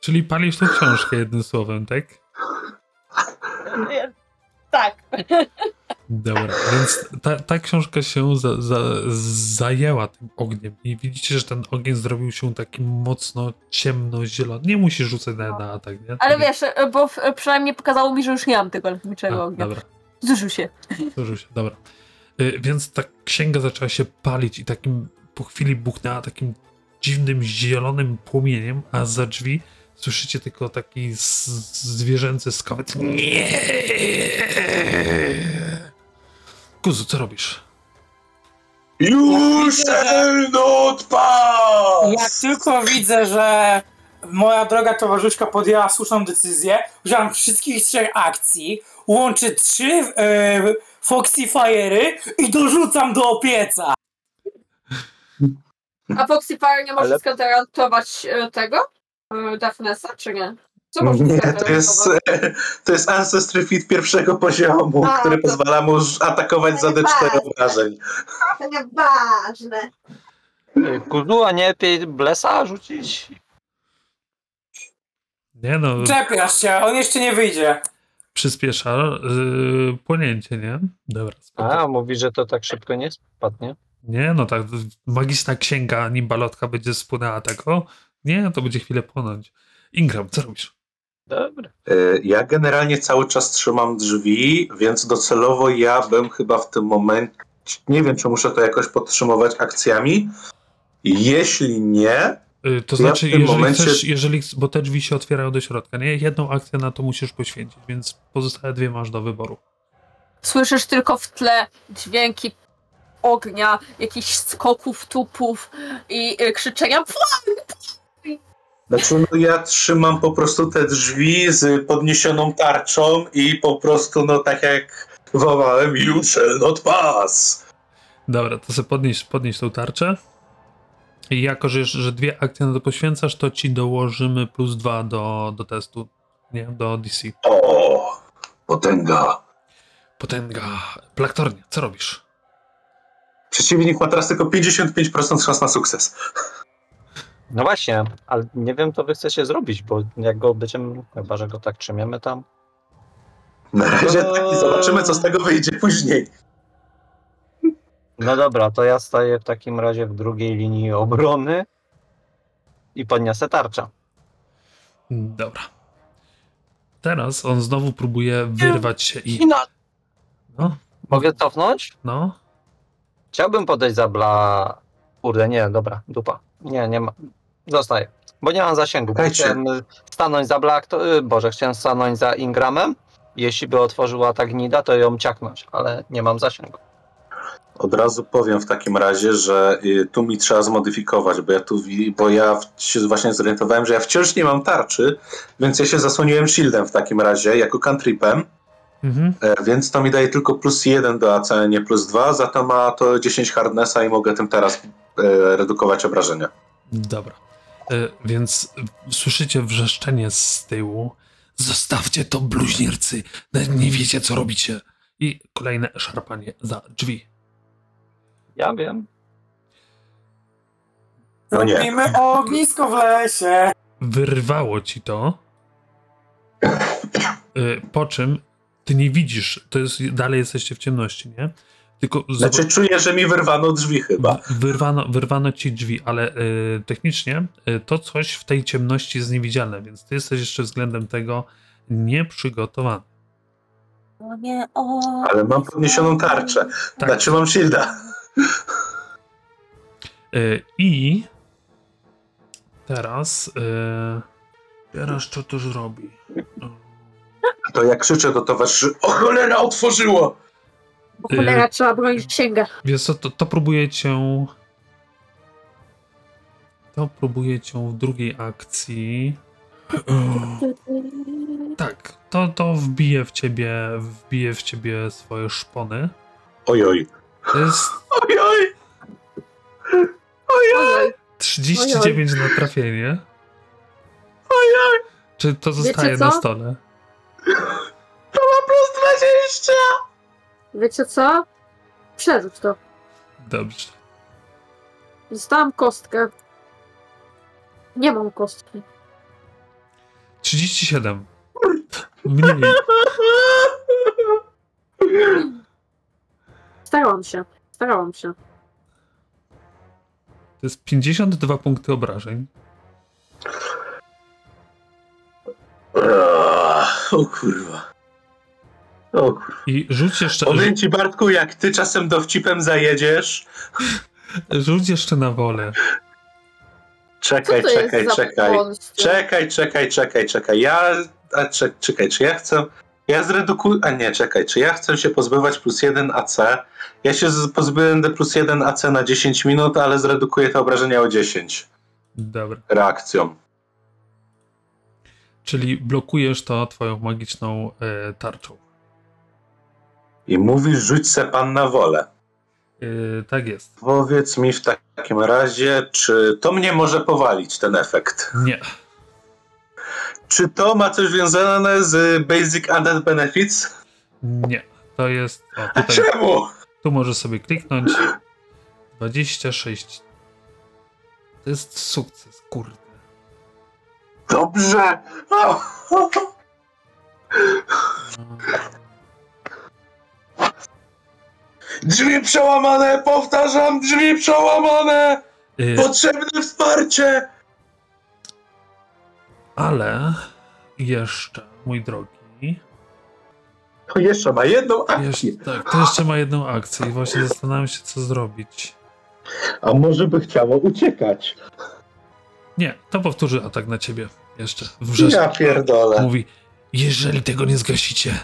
S1: Czyli palisz tą książkę jednym słowem, tak?
S5: Tak.
S1: Dobra, więc ta, ta książka się za, za, zajęła tym ogniem i widzicie, że ten ogień zrobił się taki mocno ciemno-zielony. Nie musisz rzucać na, na atak, nie?
S5: Ale
S1: Tak jak-
S5: wiesz, bo w- przynajmniej pokazało mi, że już nie mam tego
S1: A,
S5: alchemicznego ognia.
S1: Dobra,
S5: Zużył się.
S1: zużył się, dobra. Y, więc ta księga zaczęła się palić i takim po chwili buchnęła takim dziwnym, zielonym płomieniem, a za drzwi słyszycie tylko taki z- zwierzęcy skawet. Nie! Kuzu, co robisz?
S4: You shall not pass!
S3: Jak tylko widzę, że moja droga towarzyszka podjęła słuszną decyzję, użyłam wszystkich trzech akcji, łączy trzy e, Foxy Fire'y i dorzucam do opieca.
S5: A Foxy Fire nie może
S2: Ale-
S5: skontrolować e, tego? Daphnesa, czy nie? Co może
S4: Nie, to jest, to jest Ancestry Fit pierwszego poziomu,
S5: A,
S4: który
S5: to-
S4: pozwala mu atakować za D4 obrażeń.
S5: To nieważne.
S2: Kuzu, a nie lepiej blesa rzucić?
S1: Nie no,
S3: Czepiasz się, on jeszcze nie wyjdzie.
S1: przyspiesza y, płonięcie, nie? Dobra, spoko.
S2: A, mówi, że to tak szybko nie spadnie.
S1: Nie, no tak, magiczna księga, nim balotka będzie spłynęła tak, o, nie, to będzie chwilę płonąć. Ingram, co robisz?
S2: Dobra.
S4: E, Ja generalnie cały czas trzymam drzwi, więc docelowo ja bym chyba w tym momencie, nie wiem czy muszę to jakoś podtrzymywać akcjami. Jeśli nie,
S1: Y, to
S4: Ja w
S1: znaczy,
S4: tym
S1: jeżeli
S4: momencie-
S1: chcesz, jeżeli, chc- bo te drzwi się otwierają do środka, nie? Jedną akcję na to musisz poświęcić, więc pozostałe dwie masz do wyboru.
S5: Słyszysz tylko w tle dźwięki ognia, jakichś skoków, tupów i y, krzyczenia "Płoń, płoń!"
S4: Znaczy, no ja trzymam po prostu te drzwi z podniesioną tarczą i po prostu, no tak jak wołałem, you shall not pass.
S1: Dobra, to sobie podnieś, podnieś tą tarczę. I jako, że, że dwie akcje na to poświęcasz, to ci dołożymy plus dwa do, do testu, nie? Do DC.
S4: O, potęga.
S1: Potęga. Plaktornia, co robisz?
S4: Przeciwnik ma teraz tylko 55% szans na sukces.
S2: No właśnie, ale nie wiem, co wy chcecie zrobić, bo jak go będziemy, chyba że go tak trzymiemy tam.
S4: Na razie tak i zobaczymy, co z tego wyjdzie później.
S2: No dobra, to ja staję w takim razie w drugiej linii obrony i podniosę tarczę.
S1: Dobra. Teraz on znowu próbuje wyrwać się i.
S2: I na...
S1: No,
S2: Mogę cofnąć?
S1: no.
S2: Chciałbym podejść za bla... Kurde, nie, dobra, dupa. Nie, nie ma. Zostaję. Bo nie mam zasięgu. bo
S4: Dajcie.
S2: Chciałem y, stanąć za bla... Kto... y, Boże, chciałem stanąć za Ingramem. Jeśli by otworzyła ta gnida, to ją ciaknąć, ale nie mam zasięgu.
S4: Od razu powiem w takim razie, że y, tu mi trzeba zmodyfikować, bo ja tu wi- bo ja w- się właśnie zorientowałem, że ja wciąż nie mam tarczy, więc ja się zasłoniłem shieldem w takim razie jako cantripem,
S1: Mhm.
S4: e, więc to mi daje tylko plus jeden do AC, nie plus dwa, za to ma to 10 hardnessa i mogę tym teraz e, redukować obrażenia.
S1: Dobra. Y, więc y, słyszycie wrzeszczenie z tyłu. Zostawcie to, bluźniercy! Nawet nie wiecie, co robicie. I kolejne szarpanie za drzwi.
S2: Ja wiem.
S4: No nie.
S3: Robimy ognisko w lesie.
S1: wyrwało ci to. Y, Po czym ty nie widzisz, to jest, dalej jesteście w ciemności, nie? Tylko zobacz-
S4: Znaczy czuję, że mi wyrwano drzwi chyba.
S1: wyrwano, wyrwano ci drzwi, ale y, technicznie y, to coś w tej ciemności jest niewidzialne, więc ty jesteś jeszcze względem tego nieprzygotowany.
S5: O nie, o.
S4: Ale mam podniesioną tarczę.
S1: Tak.
S4: Znaczy mam shielda.
S1: Y, I teraz. y, Teraz co to zrobi?
S4: To ja krzyczę do towarzyszy, o cholera otworzyło!
S5: Bo cholera, trzeba bronić księgę.
S1: Wiesz co, to, to próbuje cię... To próbuje cię w drugiej akcji... Tak, to, to wbije w ciebie, wbije w ciebie swoje szpony.
S4: Ojoj.
S1: To jest
S4: Ojoj!
S5: Ojej,
S1: 39 na trafienie. Czy to zostaje
S5: Wiecie co?
S1: na stole?
S4: To ma plus 20!
S5: Wiecie co? Przerzuć to.
S1: Dobrze.
S5: Dostałam kostkę. Nie mam kostki.
S1: 37. Mniej.
S5: Starałam się. Starałam się.
S1: To jest 52 punkty obrażeń.
S4: O kurwa. O kurwa.
S1: I rzuć jeszcze,
S4: Powiem ci Bartku, jak ty czasem dowcipem zajedziesz.
S1: rzuć jeszcze na wolę.
S5: Co
S4: Czekaj,
S5: to
S4: czekaj,
S5: jest
S4: czekaj.
S5: za konst?
S4: Czekaj, czekaj, czekaj, czekaj. Ja. A czek, czekaj, czy ja chcę. Ja zredukuję. A nie, czekaj, czy ja chcę się pozbywać plus 1 AC? Ja się z- pozbyłem do plus 1 AC na 10 minut, ale zredukuję te obrażenia o 10
S1: Dobra.
S4: reakcją.
S1: Czyli blokujesz to twoją magiczną e, tarczą.
S4: I mówisz, rzuć se pan na wolę.
S1: E, tak jest.
S4: Powiedz mi w takim razie, czy to mnie może powalić ten efekt?
S1: Nie.
S4: Czy to ma coś związane z Basic Added Benefits?
S1: Nie. To jest. O,
S4: A
S1: tutaj.
S4: czemu?
S1: Tu możesz sobie kliknąć. 26. To jest sukces, kurde.
S4: Dobrze! O, o, o. Drzwi przełamane, powtarzam, drzwi przełamane!
S1: E,
S4: Potrzebne wsparcie!
S1: ale jeszcze, mój drogi.
S4: To jeszcze ma jedną
S1: Jeszcze,
S4: akcję.
S1: tak, to jeszcze ma jedną akcję i właśnie zastanawiam się, co zrobić.
S4: A może by chciało uciekać?
S1: Nie, to powtórzy atak na ciebie. Jeszcze w wrześniu.
S4: Ja pierdolę.
S1: Mówi, jeżeli tego nie zgasicie,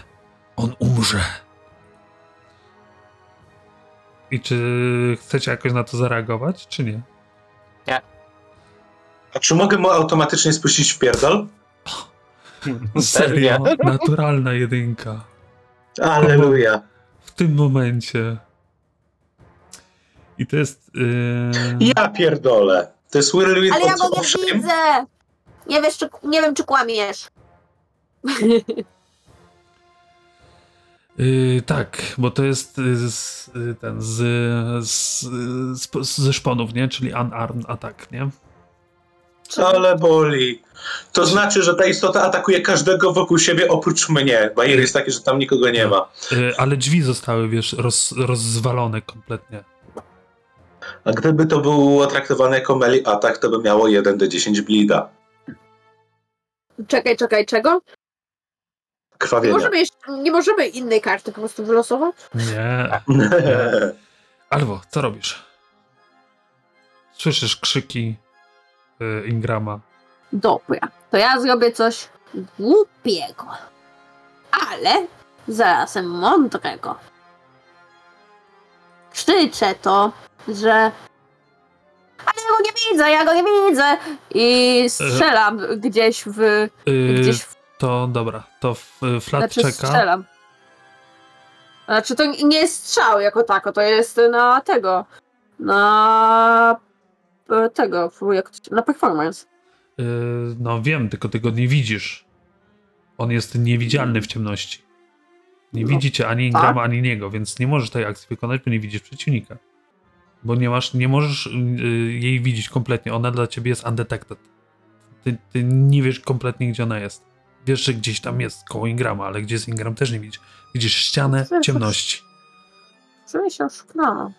S1: on umrze. I czy chcecie jakoś na to zareagować, czy nie?
S4: A czy mogę mu automatycznie spuścić pierdol?
S1: Serio, naturalna jedynka.
S4: Aleluja.
S1: W tym momencie. I to jest. Yy...
S4: Ja pierdolę. To jest Whirlwind
S5: Ale ja
S4: of-
S5: go nie
S4: of Shame?
S5: widzę! Nie, wiesz, czy, nie wiem, czy kłamiesz.
S1: Yy, tak, bo to jest yy, z, yy, ten z, z, z, z, ze szponów, nie? Czyli unarmed attack, nie?
S4: Ale boli. To znaczy, że ta istota atakuje każdego wokół siebie oprócz mnie. Bajer jest taki, że tam nikogo nie ma.
S1: Yy, ale drzwi zostały, wiesz, roz, rozzwalone kompletnie.
S4: A gdyby to było traktowane jako melee atak, to by miało 1 do 10 blida.
S5: Czekaj, czekaj, czego? Nie
S4: Krwawienia.
S5: możemy, jeszcze, nie możemy innej karty po prostu wylosować?
S1: Nie. Albo, co robisz? Słyszysz krzyki yy, Ingrama.
S5: Dobra, to ja zrobię coś głupiego. Ale zarazem mądrego. Krzyczę to, że... Ale ja go nie widzę, ja go nie widzę! I strzelam gdzieś w...
S1: Yy,
S5: Gdzieś w
S1: To dobra, to f, y, flat
S5: Znaczy
S1: czeka.
S5: strzelam. Znaczy to nie jest strzał jako tako, to jest na tego. Na e, tego, fu, jak, to się- na performance.
S1: Yy, no wiem, tylko ty go nie widzisz. On jest niewidzialny w ciemności. Nie
S5: No,
S1: widzicie ani
S5: tak.
S1: Ingrama, ani niego, więc nie możesz tej akcji wykonać, bo nie widzisz przeciwnika. Bo nie masz, nie możesz yy, jej widzieć kompletnie. Ona dla ciebie jest undetected. Ty, ty nie wiesz kompletnie, gdzie ona jest. Wiesz, że gdzieś tam jest koło Ingrama, ale gdzie jest Ingram też nie widzisz. Widzisz ścianę
S5: Przecież-
S1: ciemności.
S5: Czuję się oszukana.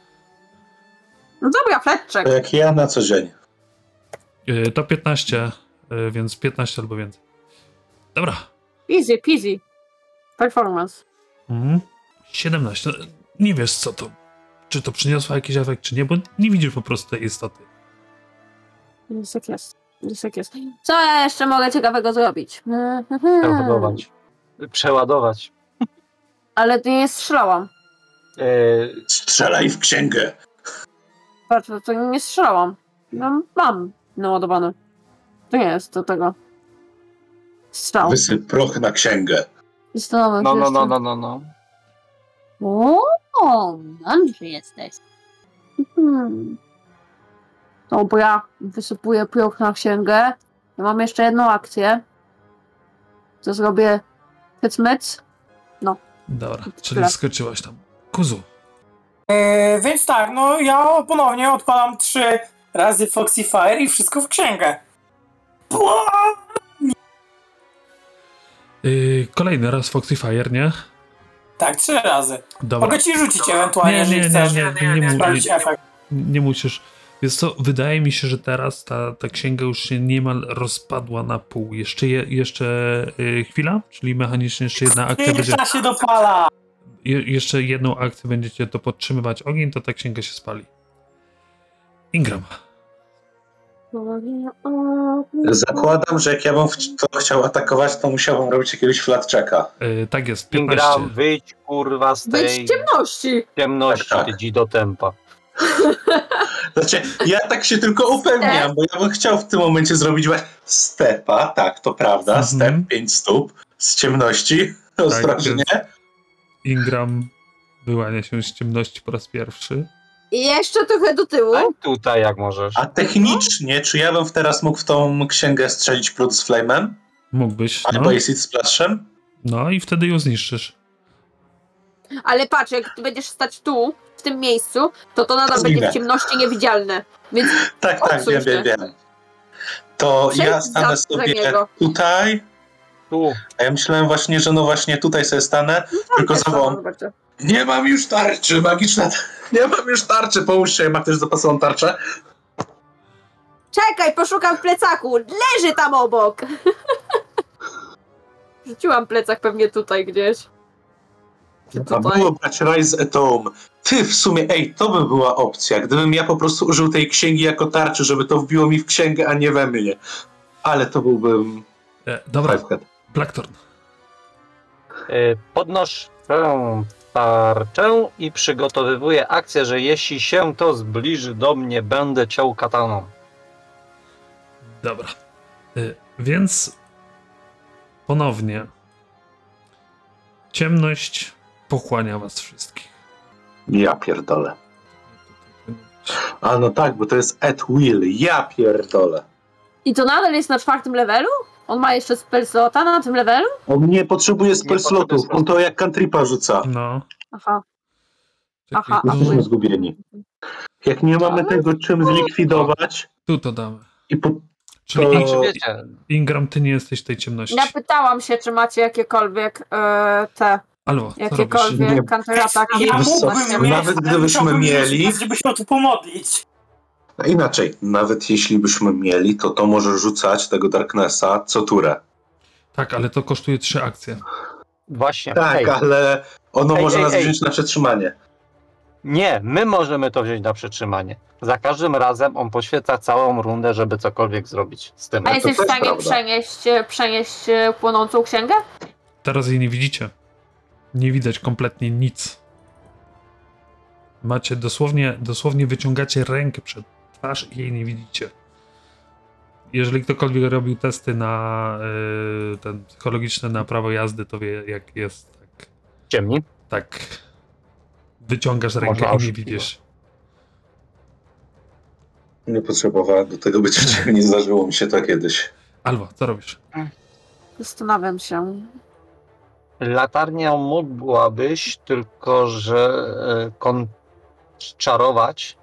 S5: No dobra, fleczek.
S4: To jak ja na co dzień.
S1: Yy, to 15, yy, więc 15 albo więcej. Dobra,
S5: Easy peasy. Performance.
S1: Mhm. 17. No, Nie wiesz co to. Czy to przyniosło jakiś efekt, czy nie, bo nie widzisz po prostu tej istoty.
S5: Jest jak jest. Jest jak jest. Co ja jeszcze mogę ciekawego zrobić? Mhm.
S2: Przeładować. Hmm. Przeładować.
S5: Ale nie strzelałam.
S2: E,
S4: Strzelaj w księgę.
S5: Patrz, to nie strzelałam. No, mam naładowany. To nie jest do tego. Strzał.
S4: Wysyp proch na księgę.
S5: Zastanawiam
S2: No,
S5: się
S2: no,
S5: jeszcze.
S2: no, no, no, no.
S5: O, mądry jesteś. Mhm. To bo ja wysypuję pyłk na księgę. Ja mam jeszcze jedną akcję. To zrobię hycmyc.
S1: Dobra, czyli
S5: Tyle.
S1: skoczyłaś tam. Kuzu.
S3: E, więc tak, no ja ponownie odpalam trzy razy Foxy Fire i wszystko w księgę. Pua!
S1: Yy, kolejny raz Foxy Fire, nie?
S3: Tak, trzy razy.
S1: Dobra.
S3: Mogę ci rzucić ewentualnie,
S1: Nie, nie,
S3: jeżeli
S1: nie,
S3: chcesz
S1: nie, nie, nie,
S3: sprawdzić
S1: nie.
S3: efekt.
S1: Nie musisz. Więc co, wydaje mi się, że teraz ta, ta księga już się niemal rozpadła na pół. Jeszcze, je, jeszcze yy, chwila, czyli mechanicznie jeszcze jedna akcja będzie.
S3: Pierwsza się dopala.
S1: Je, jeszcze jedną akcję będziecie to podtrzymywać ogień, to ta księga się spali. Ingram.
S4: Zakładam, że jak ja bym chci- to chciał atakować, to musiałbym robić jakiegoś flat checka.
S1: Yy, tak jest, 15.
S2: Ingram, wyjdź kurwa z
S5: Być
S2: tej
S5: w ciemności.
S2: ciemności,
S4: Tak, tak.
S2: ty do tempa.
S4: Znaczy, ja tak się tylko upewniam, bo ja bym chciał w tym momencie zrobić wa- stepa, tak, to prawda,
S1: Mhm. Tak,
S4: step 5 stóp z ciemności, ostrożnie.
S1: Ingram wyłania się z ciemności po raz pierwszy.
S5: I jeszcze trochę do tyłu.
S2: Stań tutaj jak możesz.
S4: A technicznie, czy ja bym w teraz mógł w tą księgę strzelić prut z flame'em?
S1: Mógłbyś, no.
S4: Albo acid splashem?
S1: no i wtedy ją zniszczysz.
S5: Ale patrz, jak ty będziesz stać tu, w tym miejscu, to to nadal
S4: Możliwe.
S5: będzie w ciemności niewidzialne. Więc
S4: Tak, tak,
S5: Odsuń
S4: wiem,
S5: się.
S4: wiem, wiem. To
S5: Przejdź
S4: ja
S5: za-
S4: stanę
S5: za
S4: sobie
S5: niego.
S4: tutaj,
S2: Tu.
S4: a ja myślałem właśnie, że no właśnie tutaj sobie stanę, tylko
S5: No tak, Też
S4: za
S5: to
S4: wąt.
S5: zobaczę.
S4: Nie mam już tarczy, magiczna. ta- Nie mam już tarczy, połóż się, ma ktoś zapasową tarczę.
S5: Czekaj, poszukam w plecaku. Leży tam obok. Rzuciłam plecak pewnie tutaj gdzieś. Czy
S4: A
S5: tutaj?
S4: było brać Rise at Home. Ty w sumie, ej, to by była opcja, gdybym ja po prostu użył tej księgi jako tarczy, żeby to wbiło mi w księgę, a nie we mnie. Ale to byłbym
S1: E, dobra,
S4: Fivehead.
S1: Blackthorn.
S2: Y, Podnoszę tarczę i przygotowywuję akcję, że jeśli się to zbliży do mnie, będę ciął kataną.
S1: Dobra. Y, Więc ponownie ciemność pochłania was wszystkich.
S4: Ja pierdolę. A no tak, bo to jest at will. Ja pierdolę.
S5: I to nadal jest na czwartym levelu? On ma jeszcze spellslota na tym levelu?
S4: On nie potrzebuje spell
S2: potrzebuje
S4: slotów.
S2: slotów.
S4: On to jak countrypa rzuca.
S1: No.
S5: Aha.
S1: Czekaj,
S5: Aha, a
S1: tu-
S4: Jesteśmy zgubieni. Jak nie mamy
S5: Ale-
S4: tego czym zlikwidować
S1: Tu to damy.
S4: i po...
S1: Czyli
S4: To-
S2: I
S1: In-
S2: czy wiecie,
S1: Ingram, ty nie jesteś tej ciemności.
S5: Ja pytałam się, czy macie jakiekolwiek e, te,
S1: Albo co robisz?
S5: jakiekolwiek
S4: Nie.
S5: kontrataki.
S3: Tak, Ja
S4: Wiesz co, no,
S3: mógłbym mieć,
S4: nawet
S3: ale
S4: gdybyśmy
S3: chciałbym
S4: mieli-
S3: mieć, żeby się o to pomodlić.
S4: No Inaczej, nawet jeśli byśmy mieli, to to może rzucać tego Darknessa co turę.
S1: Tak, ale to kosztuje trzy akcje.
S2: właśnie.
S4: Tak,
S2: Ej,
S4: ale ono
S2: Ej,
S4: może
S2: ej,
S4: nas
S2: ej.
S4: wziąć na przetrzymanie.
S2: nie, my możemy to wziąć na przetrzymanie. Za każdym razem on poświęca całą rundę, żeby cokolwiek zrobić z tym.
S5: A jesteś
S4: no, to też
S5: w stanie
S4: prawda.
S5: przenieść, e, przenieść e, płonącą księgę?
S1: Teraz jej nie widzicie. Nie widać kompletnie nic. Macie dosłownie, dosłownie wyciągacie rękę przed twarz i jej nie widzicie. Jeżeli ktokolwiek robił testy na y, ten psychologiczne na prawo jazdy, to wie jak jest tak.
S2: Ciemni.
S1: tak wyciągasz rękę
S2: Można
S1: i nie
S2: oszukać.
S1: widzisz.
S4: Nie potrzebowałem do tego być nie zdarzyło mi się to kiedyś.
S1: Albo co robisz?
S5: Zastanawiam się.
S2: Latarnią mogłabyś, tylko że e, kon- czarować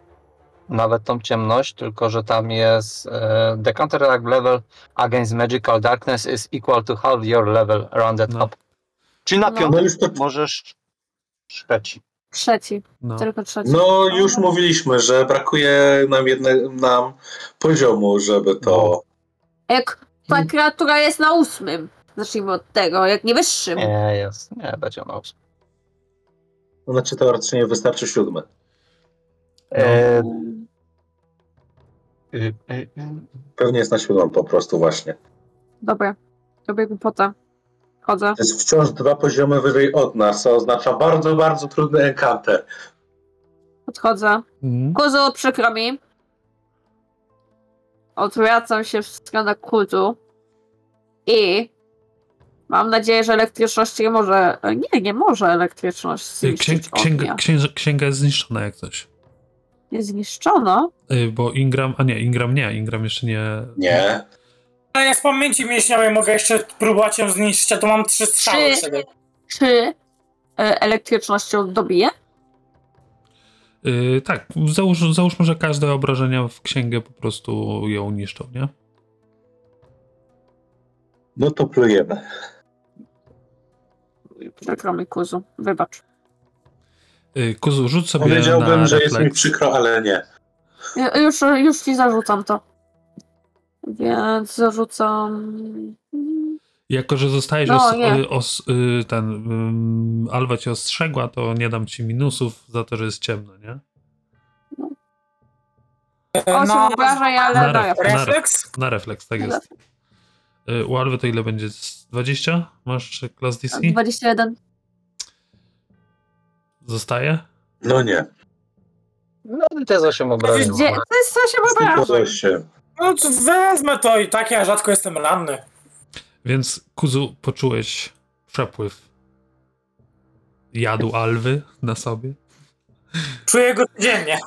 S2: nawet tą ciemność, tylko że tam jest e, the counterattack level against magical darkness is equal to half your level rounded
S1: No.
S2: up. Czyli na
S5: No.
S4: No
S2: piątym
S4: już, to,
S2: możesz trzeci.
S5: Trzeci,
S1: No.
S5: tylko trzeci.
S4: no już mówiliśmy, że brakuje nam, jedne, nam poziomu, żeby to...
S5: Jak ta kreatura jest na ósmym. Zacznijmy od tego, jak nie wyższym.
S2: Nie, jest. Nie, będzie on ósmy.
S4: Znaczy teoretycznie wystarczy siódmy.
S2: E,
S5: Mm.
S2: y, y, y.
S4: Pewnie jest na siódmym po prostu właśnie.
S5: Dobra, robię głupotę. Chodzę.
S4: To jest wciąż dwa poziomy wyżej od nas, co oznacza bardzo, bardzo trudny encounter.
S5: Odchodzę.
S1: Mhm.
S5: Kuzu, przykro mi. Odwracam się w stronę kultu. I mam nadzieję, że elektryczność nie może. e, Nie, nie może elektryczność.
S1: Y,
S5: Księg,
S1: Księg, księga, księga, księga jest zniszczona jak coś.
S5: Nie zniszczono.
S1: Y, Bo Ingram, a nie, Ingram nie, Ingram jeszcze nie.
S4: Nie.
S3: Ale ja z pamięci mięśniowej mogę jeszcze próbować ją zniszczyć, a to mam trzy strzały.
S5: Trzy.
S3: wtedy.
S5: Czy e, elektryczność ją dobije?
S1: Y, tak, załóż, załóżmy, że każde obrażenia w księgę po prostu ją niszczą, nie?
S4: No to plujemy.
S5: Przykro mi, Kuzu. Wybacz.
S1: Y, Kuzu, rzuć sobie na
S4: Powiedziałbym, że jest mi
S1: refleks.
S4: przykro, ale nie.
S5: Ja- Już, już ci zarzucam to. Więc zarzucam.
S1: Jako, że zostajesz
S5: No,
S1: os,
S5: nie.
S1: y, os, y, ten. ym, Alwa cię ostrzegła, to nie dam ci minusów za to, że jest ciemno, nie?
S5: Osiem
S3: No,
S5: obrażeń,
S1: Na
S5: ale daję.
S1: refleks.
S3: refleks?
S1: Na refleks, tak jest. Y, U Alwy to ile będzie? Z 20? Masz klas DC?
S5: 21.
S1: Zostaje?
S4: No nie.
S2: No to jest 8 obrażeń.
S5: Gdzie? To jest coś
S4: Tylko
S5: obrażeń.
S4: się.
S3: No to wezmę to i tak ja rzadko jestem ranny.
S1: Więc Kuzu, poczułeś przepływ jadu Alwy na sobie.
S3: Czuję go codziennie.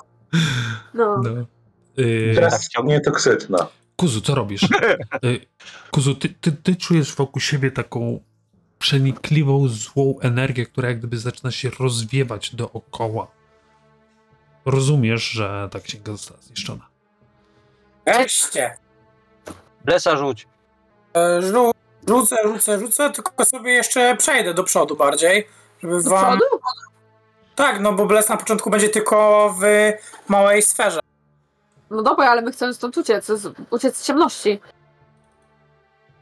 S5: No.
S1: No. Y,
S4: Teraz nie toksyczna.
S1: Kuzu, co robisz? Y, Kuzu, ty, ty, ty czujesz wokół siebie taką przenikliwą, złą energię, która jak gdyby zaczyna się rozwiewać dookoła. Rozumiesz, że ta księga została zniszczona.
S3: Wreszcie.
S2: Blesa rzuć.
S3: E, Rzu rzucę, rzucę, rzucę, tylko sobie jeszcze przejdę do przodu bardziej. Żeby
S5: Do
S3: wam...
S5: przodu?
S3: Tak, no bo Bles na początku będzie tylko w małej sferze.
S5: No dobra, ale my chcemy stąd uciec. z- Uciec z ciemności.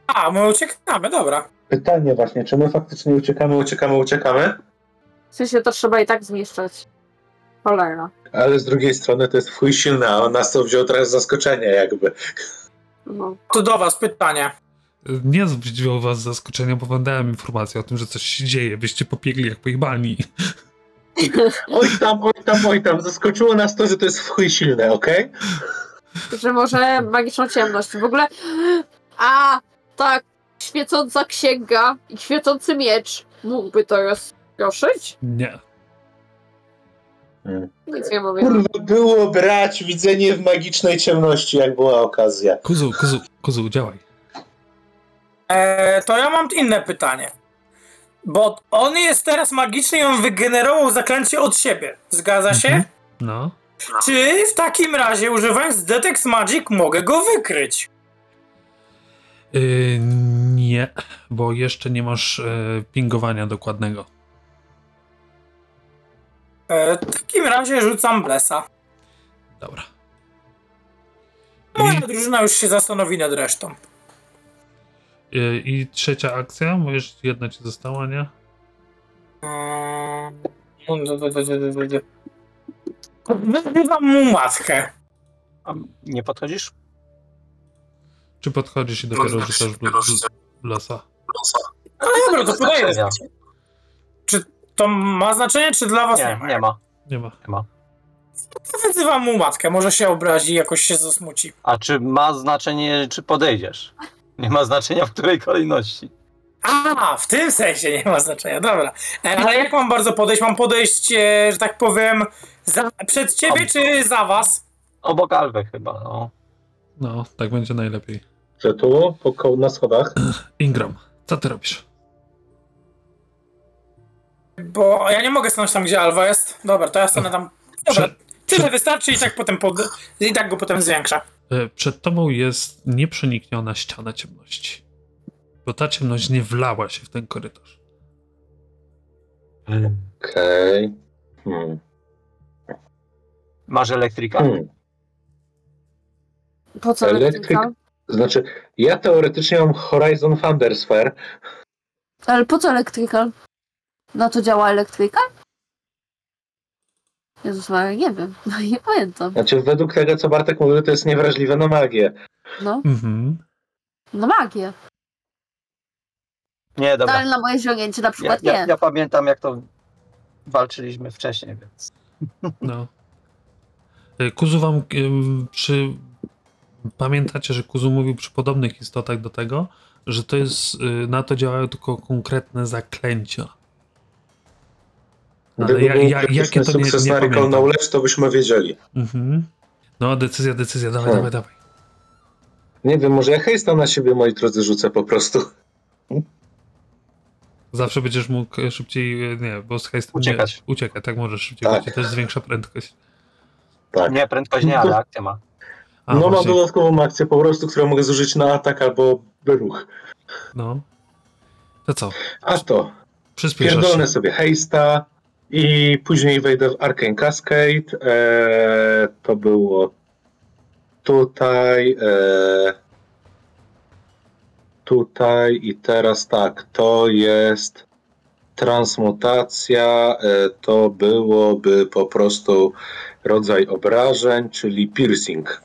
S3: A, my uciekamy, dobra.
S4: Pytanie właśnie, czy my faktycznie uciekamy, uciekamy, uciekamy?
S5: W sensie to trzeba i tak zniszczyć. Cholera.
S4: Ale z drugiej strony to jest chuj silna, a on nas to wziął teraz z zaskoczenia jakby.
S5: No.
S3: To do was pytanie.
S1: Y, Nie zwiedziło was zaskoczenia, bo wam dałem informację o tym, że coś się dzieje. Byście pobiegli jak pojebani.
S4: Oj tam, oj tam, oj tam, zaskoczyło nas to, że to jest w chuj silne, okej?
S5: że może magiczną ciemność. W ogóle. A, tak, świecąca księga i świecący miecz mógłby to rozproszyć?
S1: Nie.
S5: Nic nie mówię.
S6: Kurwa, było brać widzenie w magicznej ciemności, jak była okazja.
S1: Kuzu, kuzu, kuzu, działaj.
S3: E, to ja mam inne pytanie. Bo on jest teraz magiczny i on wygenerował zaklęcie od siebie. Zgadza się?
S1: Mhm. No.
S3: Czy w takim razie używając Detect Magic mogę go wykryć?
S1: Y, nie, bo jeszcze nie masz y, pingowania dokładnego.
S3: E, w takim razie rzucam Blesa.
S1: Dobra.
S3: Moja drużyna już się zastanowi nad resztą.
S1: I, y, I trzecia akcja, bo jeszcze jedna ci została, nie?
S3: Mm. Wyrywam mu matkę.
S2: A nie podchodzisz?
S1: Czy podchodzisz i dopiero rzucasz bl- bl- blasa?
S3: No dobra, to podaję.
S2: Znaczy,
S3: To ma znaczenie, czy dla was nie,
S2: Nie,
S3: ma?
S2: nie ma.
S1: Nie ma.
S3: Wyzywam mu matkę, może się obrazi, jakoś się zasmuci.
S2: A czy ma znaczenie, czy podejdziesz? Nie ma znaczenia, w której kolejności.
S3: A, w tym sensie nie ma znaczenia, dobra. E, ale jak mam bardzo podejść? Mam podejść, e, że tak powiem, za, przed ciebie, czy za was?
S2: Obok Alwy chyba, no.
S1: No, tak będzie najlepiej.
S6: Że tu, po koło na schodach.
S1: Ingram, co ty robisz?
S3: Bo ja nie mogę stanąć tam, gdzie Alwa jest. Dobra, to ja stanę tam. Dobra,
S1: Prze-
S3: tyle wystarczy i tak potem pod... i tak go potem zwiększa.
S1: y, przed tobą jest nieprzenikniona ściana ciemności. Bo ta ciemność nie wlała się w ten korytarz.
S4: Okej. Hmm.
S2: Masz elektryka?
S4: Hmm.
S5: Po co
S4: Elektryk-
S5: elektryka?
S4: Znaczy, ja teoretycznie mam Horizon Thundersphere.
S5: Ale po co elektrykal? Na to działa elektryka? Jezus Maria, No, nie wiem. Nie pamiętam.
S4: Znaczy, według tego, co Bartek mówił, to jest niewrażliwe na magię.
S5: No,
S1: Mhm.
S5: no magię.
S2: Nie,
S5: No,
S2: dobra.
S5: ale na moje ziągnięcie na
S2: Ja,
S5: przykład
S2: ja,
S5: nie.
S2: ja pamiętam, jak to walczyliśmy wcześniej, więc...
S1: No. Y, Kuzu wam ym, przy... Pamiętacie, że Kuzu mówił przy podobnych istotach do tego, że to jest... y, Na to działają tylko konkretne zaklęcia. Ale
S4: Gdyby
S1: ja,
S4: był
S1: ja, jakie
S4: krytyczny
S1: to nie,
S4: sukces
S1: nie
S4: na Recall
S1: pamiętam.
S4: Knowledge, to byśmy wiedzieli.
S1: Mhm. No, decyzja, decyzja, dawaj, dawaj,
S4: Hmm.
S1: dawaj.
S4: Nie wiem, może ja hejsta na siebie, moi drodzy, rzucę po prostu.
S1: Zawsze będziesz mógł e, szybciej, e, nie, bo z hejstem
S2: Uciekać.
S1: Nie, uciekać, tak możesz szybciej,
S4: Tak.
S1: bo ci też zwiększa prędkość.
S4: Tak.
S2: Nie, prędkość nie, ale akcja ma.
S1: A,
S4: no mam
S1: właśnie,
S4: dodatkową akcję po prostu, którą mogę zużyć na atak albo ruch.
S1: no. To co?
S4: A to,
S1: Przyspieszasz się.
S4: pierdolę sobie hejsta i później wejdę w Arcane Cascade. Eee, to było tutaj. Eee, tutaj i teraz tak, to jest transmutacja, e, to byłoby po prostu rodzaj obrażeń, czyli piercing.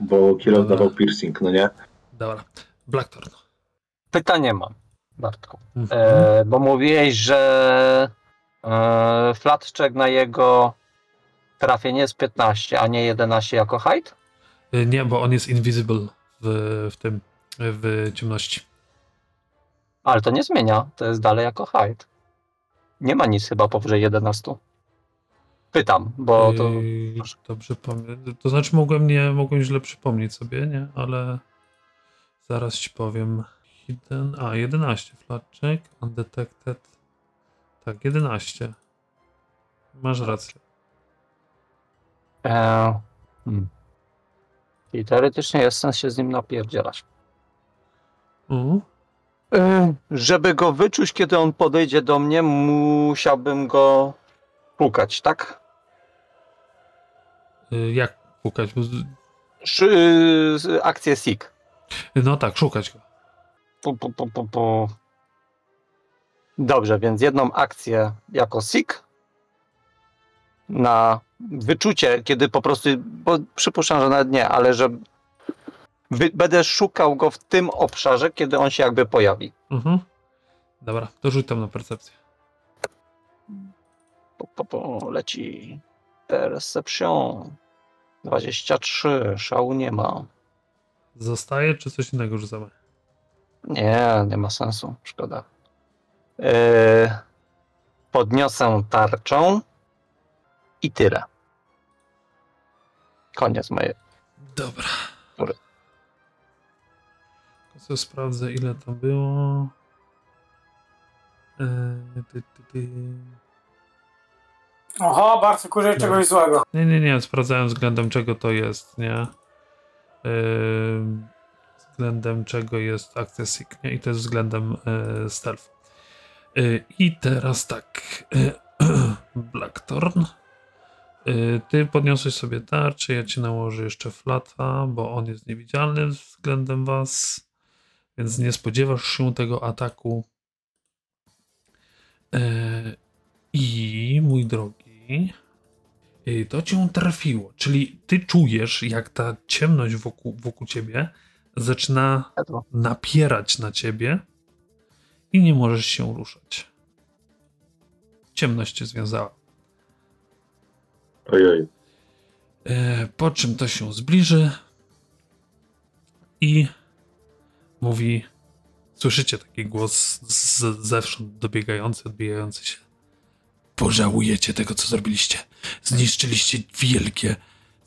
S4: Bo Kilo
S1: Dobra.
S4: dawał piercing, no nie?
S1: Dobra. Blackthorn.
S2: Pytanie mam, Bartku.
S1: Mhm.
S2: E, bo mówiłeś, że e, flatczek na jego trafienie jest 15, a nie 11 jako height?
S1: Y, Nie, bo on jest invisible w, w tym, w ciemności.
S2: Ale to nie zmienia, to jest dalej jako height. Nie ma nic chyba powyżej 11. Pytam, bo to...
S1: Yy, Dobrze pamiętam. To znaczy mogłem, nie, mogłem źle przypomnieć sobie, nie? Ale zaraz ci powiem. Hidden, a, 11 flatczek, undetected. Tak, 11. Masz rację.
S2: E, hmm. I teoretycznie jest sens się z nim napierdzielać.
S1: U,
S2: E, Żeby go wyczuć, kiedy on podejdzie do mnie, musiałbym go pukać, tak?
S1: y, jak pukać? Bo z-
S2: Szy, y, akcję SIG.
S1: No tak, szukać go.
S2: Pu, pu, pu, pu, pu. Dobrze, więc jedną akcję jako SIG na wyczucie, kiedy po prostu, bo przypuszczam, że nawet nie, ale że wy, będę szukał go w tym obszarze, kiedy on się jakby pojawi.
S1: Mhm. Dobra, to rzuć tam na percepcję.
S2: Pu, pu, pu, leci Perception. 23, szału nie ma.
S1: Zostaje, czy coś innego rzucamy?
S2: Nie, nie ma sensu, szkoda. Yy, podniosę tarczą i tyle. Koniec mojej.
S1: Dobra.
S2: Dobra.
S1: Tylko sobie sprawdzę, ile to było. Eee, ty, ty, ty.
S3: Oho, bardzo kurzej
S1: No.
S3: czegoś złego.
S1: Nie, nie, nie, sprawdzałem względem czego to jest, nie? Ym, względem czego jest akcja SIG, nie? I to jest względem y, stealth. Y, I teraz tak. Y, Blackthorn. Y, ty podniosłeś sobie tarczę, ja ci nałożę jeszcze flata, bo on jest niewidzialny względem was, więc nie spodziewasz się tego ataku. Y, I mój drogi. Y, To cię trafiło, czyli ty czujesz, jak ta ciemność wokół, wokół ciebie zaczyna napierać na ciebie i nie możesz się ruszać. Ciemność cię związała.
S4: Ojoj.
S1: E, po czym to się zbliży i mówi: Słyszycie taki głos z, zewsząd dobiegający, odbijający się. Pożałujecie tego, co zrobiliście. Zniszczyliście wielkie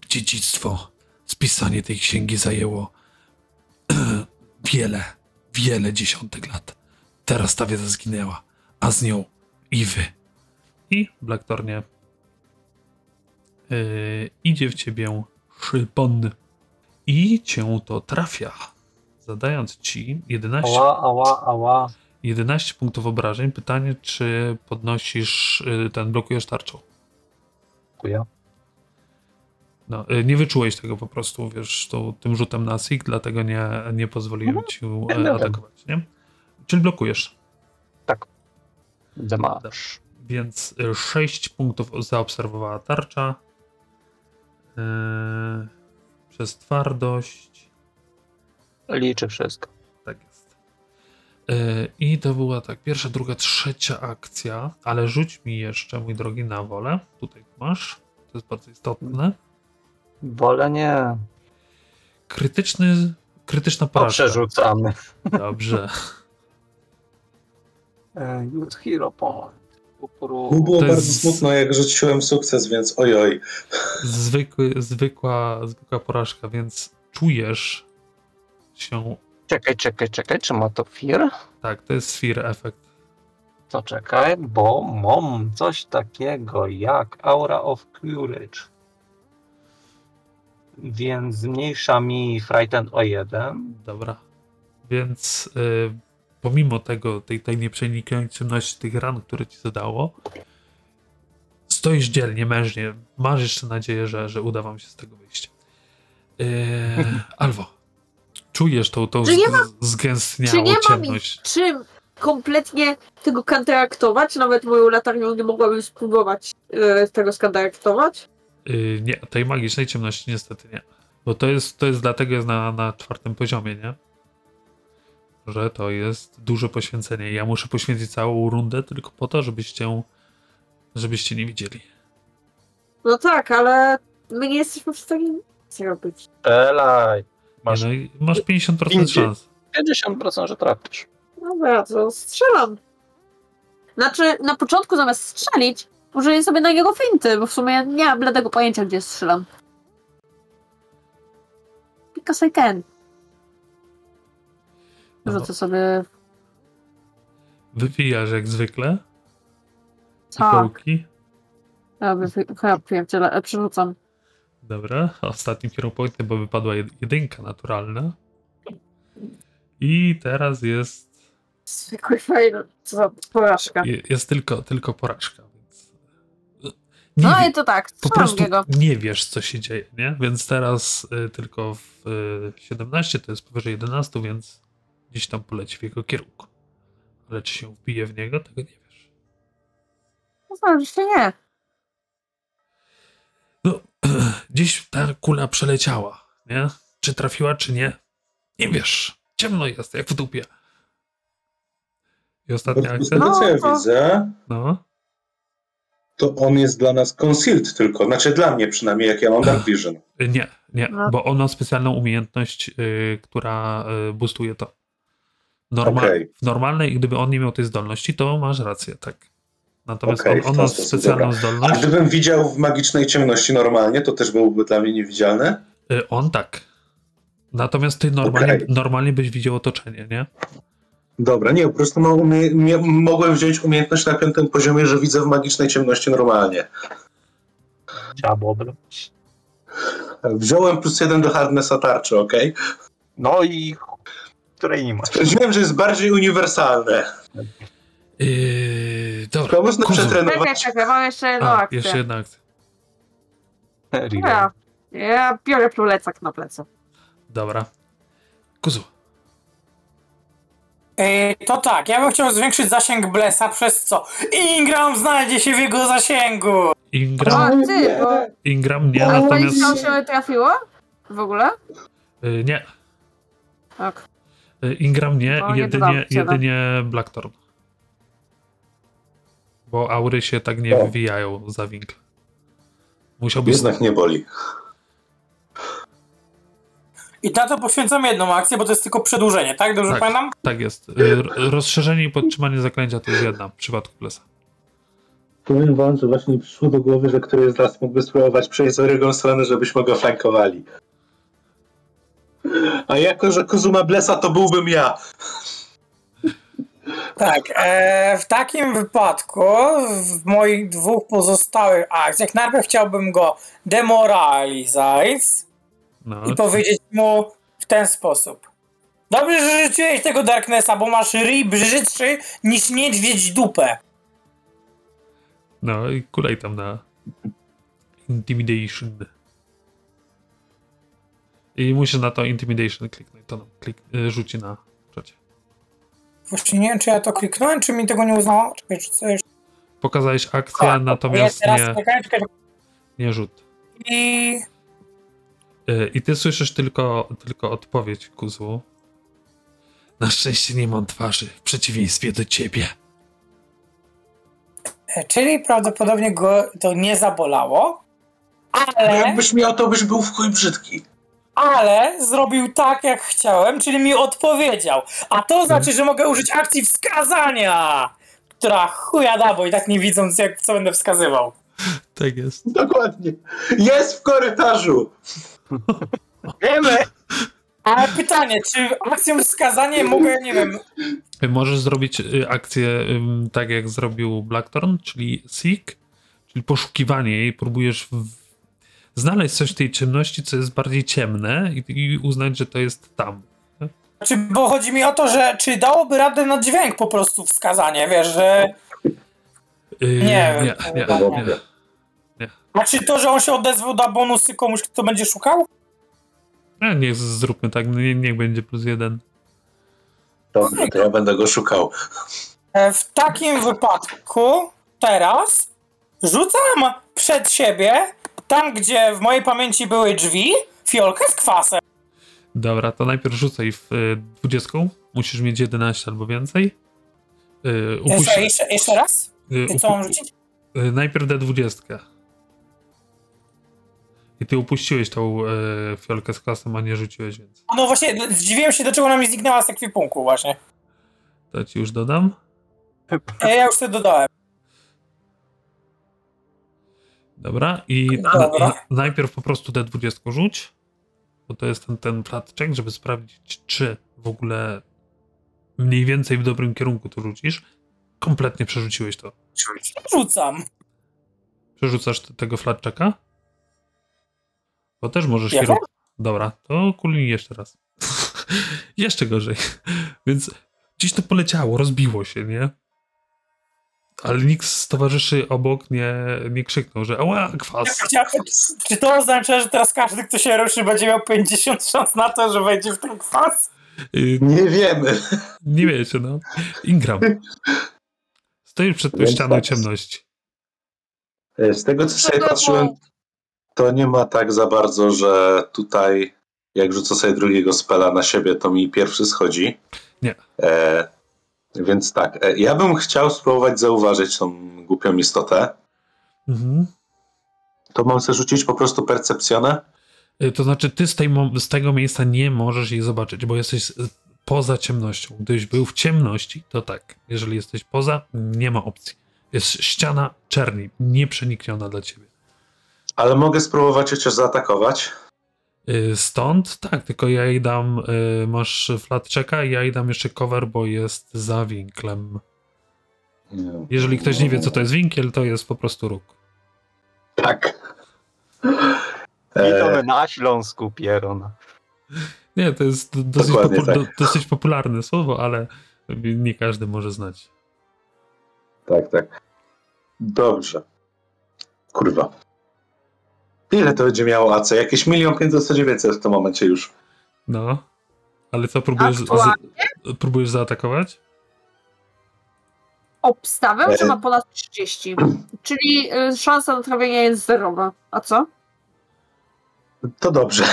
S1: dziedzictwo. Spisanie tej księgi zajęło wiele, wiele dziesiątek lat. Teraz ta wiedza zginęła, a z nią i wy. I Blacktornie Yy, idzie w ciebie szypon i cię to trafia, zadając ci 11,
S2: Ała, ała, ała.
S1: 11 punktów obrażeń. Pytanie, czy podnosisz yy, ten, blokujesz tarczą?
S2: Dziękuję.
S1: No, yy, nie wyczułeś tego po prostu, wiesz, tą, tym rzutem na SIG, dlatego nie, nie pozwoliłem ci
S2: nie
S1: e,
S2: wiem.
S1: atakować, nie? Czyli blokujesz,
S2: Demasz.
S1: więc y, 6 punktów zaobserwowała tarcza yy, przez twardość.
S2: Liczy wszystko.
S1: Tak jest. Yy, I to była tak, pierwsza, druga, trzecia akcja, ale rzuć mi jeszcze, mój drogi, na wolę. Tutaj masz, to jest bardzo istotne.
S2: Wolę nie.
S1: Krytyczny, krytyczna
S2: To
S1: porażka.
S2: przerzucamy.
S1: Dobrze.
S2: E, Youth Hero Point. Upru.
S4: Mu było
S1: To
S4: bardzo
S1: jest-
S4: smutno, jak rzuciłem sukces, więc ojoj.
S1: Zwykły, zwykła, zwykła porażka, więc czujesz się,
S2: Czekaj, czekaj, czekaj, czy ma to Fear?
S1: tak, to jest sphere efekt.
S2: To czekaj, bo mam coś takiego jak Aura of Courage. Więc zmniejsza mi Frighten o 1.
S1: Dobra. Więc y, pomimo tego, tej, tej nieprzenikającej ciemności tych ran, które ci zadało, stoisz dzielnie, mężnie. Masz jeszcze nadzieję, że, że uda wam się z tego wyjść. Y, Alwo, czujesz tą, tą
S5: Czy nie
S1: zg-
S5: czy nie
S1: zgęstniałą
S5: mam
S1: ciemność.
S5: Czym kompletnie tego kontraktować? Nawet moją latarnią nie mogłabym spróbować e, tego skontraktować.
S1: Y, nie, tej magicznej ciemności niestety nie. Bo to jest, to jest dlatego jest na, na czwartym poziomie, nie? Że to jest duże poświęcenie. Ja muszę poświęcić całą rundę tylko po to, żebyście, żebyście nie widzieli.
S5: No tak, ale my nie jesteśmy w stanie nic robić.
S2: Elaj.
S1: Masz,
S2: Masz
S1: no, i masz 50%
S2: Pięćdzie-
S1: szans.
S2: 50%, że trafisz.
S5: Dobra, to No strzelam. Znaczy, na początku zamiast strzelić, użyję sobie na niego finty, bo w sumie nie mam bladego pojęcia, gdzie strzelam. Because I can.
S1: No,
S5: Rzucę sobie...
S1: wypijasz jak zwykle.
S5: Tak,
S1: Kołki.
S5: ja wy- chyba pierdzielę, e, przerzucam.
S1: Dobra. Ostatni kierunek, bo wypadła jed- jedynka naturalna. I teraz jest,
S5: Zwykły fail, co za porażka.
S1: je- jest tylko, tylko porażka. Więc... Nie
S5: No
S1: wie-
S5: i to tak,
S1: po
S5: strzelam w
S1: prostu
S5: niego.
S1: nie wiesz, co się dzieje, nie? Więc teraz y, tylko w y, 17 to jest powyżej 11, więc gdzieś tam poleci w jego kierunku. Ale czy się wbije w niego, tego nie wiesz.
S5: No, oczywiście nie.
S1: No, gdzieś ta kula przeleciała, nie? Czy trafiła, czy nie? Nie wiesz. Ciemno jest, jak w dupie. I ostatnia akcja?
S4: No, co ja
S5: No, to-
S4: widzę,
S1: No.
S4: to on jest dla nas concealed tylko. Znaczy dla mnie przynajmniej, jak ja mam Dark Vision.
S1: Y, Nie, nie,
S5: No.
S1: bo on ma specjalną umiejętność, y, która y, boostuje to. Norma-
S4: Okej.
S1: W normalnej, gdyby on nie miał tej zdolności, to masz rację, tak. Natomiast
S4: Okej,
S1: on,
S4: w
S1: on
S4: ten
S1: ma
S4: sposób,
S1: specjalną
S4: A
S1: zdolność.
S4: gdybym widział w magicznej ciemności normalnie, to też byłoby dla mnie niewidzialne?
S1: Y, On tak. Natomiast ty normalnie,
S4: Okej.
S1: normalnie byś widział otoczenie, nie?
S4: Dobra, nie, po prostu no, umie, mie- mogłem wziąć umiejętność na piątym poziomie, że widzę w magicznej ciemności normalnie.
S2: Diabobl.
S4: Wziąłem plus jeden do hardnessa tarczy, okej?
S2: No i której nie ma.
S4: Wiem, że jest bardziej uniwersalne.
S1: Yy, dobra.
S4: To można
S1: Kuzu.
S5: Czekaj,
S4: przetrenować.
S5: czekaj, Tak, mam jeszcze jedną
S1: A,
S5: akcję.
S1: jeszcze jedna akcja.
S2: Reload.
S5: Ja, ja biorę plecak na plecy.
S1: Dobra. Kuzu.
S3: E, to tak, ja bym chciał zwiększyć zasięg Blessa, przez co Ingram znajdzie się w jego zasięgu.
S1: Ingram,
S5: A,
S4: Ale
S5: ty,
S4: nie.
S5: bo...
S1: Ingram nie,
S5: A
S1: natomiast...
S5: natomiast... się trafiło? W ogóle?
S1: Y, Nie,
S5: Tak.
S1: Y, Ingram nie,
S5: O, nie no. dodam
S1: jedynie,
S5: wcale.
S1: jedynie Blackthorn. Bo aury się tak nie
S4: O.
S1: wywijają za winkl. Musiałbyś...
S4: Jednak nie boli.
S3: I na to poświęcam jedną akcję, bo to jest tylko przedłużenie, tak? Dobrze
S1: Tak.
S3: pamiętam?
S1: Tak jest. Y, r- Rozszerzenie i podtrzymanie zaklęcia to jest jedna w przypadku plesa.
S4: Powiem wam, że właśnie przyszło do głowy, że któryś z nas mógłby spróbować przejść z drugą stronę, żebyśmy go flankowali. A jako, że Kuzuma Blesa, to byłbym ja.
S3: Tak, e, w takim wypadku, w moich dwóch pozostałych akcjach, najpierw chciałbym go demoralizować
S1: No.
S3: i powiedzieć mu w ten sposób. Dobrze, że życzyłeś tego Darknessa, bo masz ryj brzydszy niż niedźwiedź dupę.
S1: No i kulej tam na Intimidation. I musisz na to Intimidation kliknąć. To nam klik, y, rzuci na czacie.
S3: Właśnie nie wiem, czy ja to kliknąłem, czy mi tego nie uznało. Czekaj, czy coś...
S1: Pokazałeś akcję,
S3: A,
S1: natomiast
S3: Tak, ja teraz tak-
S1: nie,
S3: czekaj, czekaj, czekaj.
S1: nie rzut.
S3: I...
S1: Y, I ty słyszysz tylko, tylko odpowiedź, Kuzu. Na szczęście nie mam twarzy, w przeciwieństwie do ciebie.
S3: e, Czyli prawdopodobnie go to nie zabolało,
S4: No
S3: ale...
S4: jakbyś miał, to byś był w chuj brzydki.
S3: ale zrobił tak, jak chciałem, czyli mi odpowiedział. A to znaczy, że mogę użyć akcji wskazania, która chuja da, bo i tak nie widząc, jak, co będę wskazywał.
S1: Tak jest.
S4: Dokładnie. Jest w korytarzu.
S2: Wiemy!
S3: Ale pytanie, czy akcją wskazanie mogę, nie wiem,
S1: Możesz zrobić y, akcję ym, tak, jak zrobił Blackthorn, czyli seek, czyli poszukiwanie jej. Próbujesz w... znaleźć coś w tej ciemności, co jest bardziej ciemne i, i uznać, że to jest tam.
S3: czy, bo chodzi mi o to, że czy dałoby radę na dźwięk po prostu wskazanie, wiesz, że...
S1: Y,
S3: Nie,
S1: nie, nie,
S3: to
S1: nie,
S4: wątpię.
S3: A czy to, że on się odezwał da bonusy komuś, kto będzie szukał?
S1: nie. Niech zróbmy tak, nie, niech będzie plus jeden.
S4: Dobrze, to ja będę go szukał.
S3: E, W takim wypadku teraz rzucam przed siebie, tam gdzie w mojej pamięci były drzwi, fiolkę z kwasem.
S1: Dobra, to najpierw rzucaj w y, 20. Musisz mieć 11 albo więcej. Y, upuść-
S3: Jeszcze, jeszcze, jeszcze raz?
S1: y,
S3: Co mam
S1: upu-
S3: rzucić?
S1: Y, Najpierw D20. I ty upuściłeś tą e, fiolkę z klasem, a nie rzuciłeś, więc
S3: No właśnie, zdziwiłem się, dlaczego ona mi zniknęła z ekwipunku właśnie.
S1: to ci już dodam.
S3: E, Ja już sobie dodałem.
S1: Dobra, i
S3: Dobra.
S1: Na, na, najpierw po prostu D20 rzuć, bo to jest ten, ten flat check, żeby sprawdzić, czy w ogóle mniej więcej w dobrym kierunku to rzucisz. Kompletnie przerzuciłeś to.
S3: Rzucam.
S1: Przerzucasz t- tego flat checka? Bo też możesz
S3: Ja
S1: je
S3: tak.
S1: rob- Dobra, to kulni jeszcze raz. jeszcze gorzej. Więc gdzieś to poleciało, rozbiło się, nie? Ale nikt z towarzyszy obok nie, nie krzyknął, że ała, kwas.
S3: Chciałem- Czy to oznacza, że teraz każdy, kto się ruszy, będzie miał 50 szans na to, że wejdzie w ten kwas?
S1: Y,
S4: Nie wiemy.
S1: nie wiecie, no. Ingram. Stoisz przed tą
S4: Więc
S1: ścianą
S4: tak.
S1: ciemności.
S4: E, Z tego, co sobie
S5: No to-
S4: patrzyłem, to nie ma tak za bardzo, że tutaj jak rzucę sobie drugiego spela na siebie, to mi pierwszy schodzi.
S1: Nie.
S4: E, więc tak, e, ja bym chciał spróbować zauważyć tą głupią istotę.
S1: Mhm.
S4: To mam sobie rzucić po prostu percepcjonę?
S1: Y, To znaczy, ty z, tej, mo- z tego miejsca nie możesz jej zobaczyć, bo jesteś z- poza ciemnością. Gdybyś był w ciemności, to tak. Jeżeli jesteś poza, nie ma opcji. Jest ściana czerni, nieprzenikniona dla ciebie.
S4: Ale mogę spróbować cię zaatakować.
S1: Y, Stąd tak, tylko ja jej dam, y, masz flat checka i ja jej dam jeszcze cover, bo jest za winklem. Jeżeli ktoś nie wie, co to jest winkiel, to jest po prostu róg.
S4: Tak. E,
S2: Witamy na Śląsku, Pieron.
S1: Nie, to jest do- dosyć,
S4: Dokładnie
S1: popu-
S4: tak.
S1: do, dosyć popularne słowo, ale nie każdy może znać.
S4: Tak, tak. Dobrze. Kurwa. Ile to będzie miało AC? Jakieś milion pięćset dziewięćset w tym momencie już.
S1: No. Ale co, próbujesz, z, z, próbujesz zaatakować?
S5: Obstawiam, że
S4: E.
S5: ma ponad 30. Czyli y, szansa na trafienie jest zerowa. A co?
S4: To dobrze.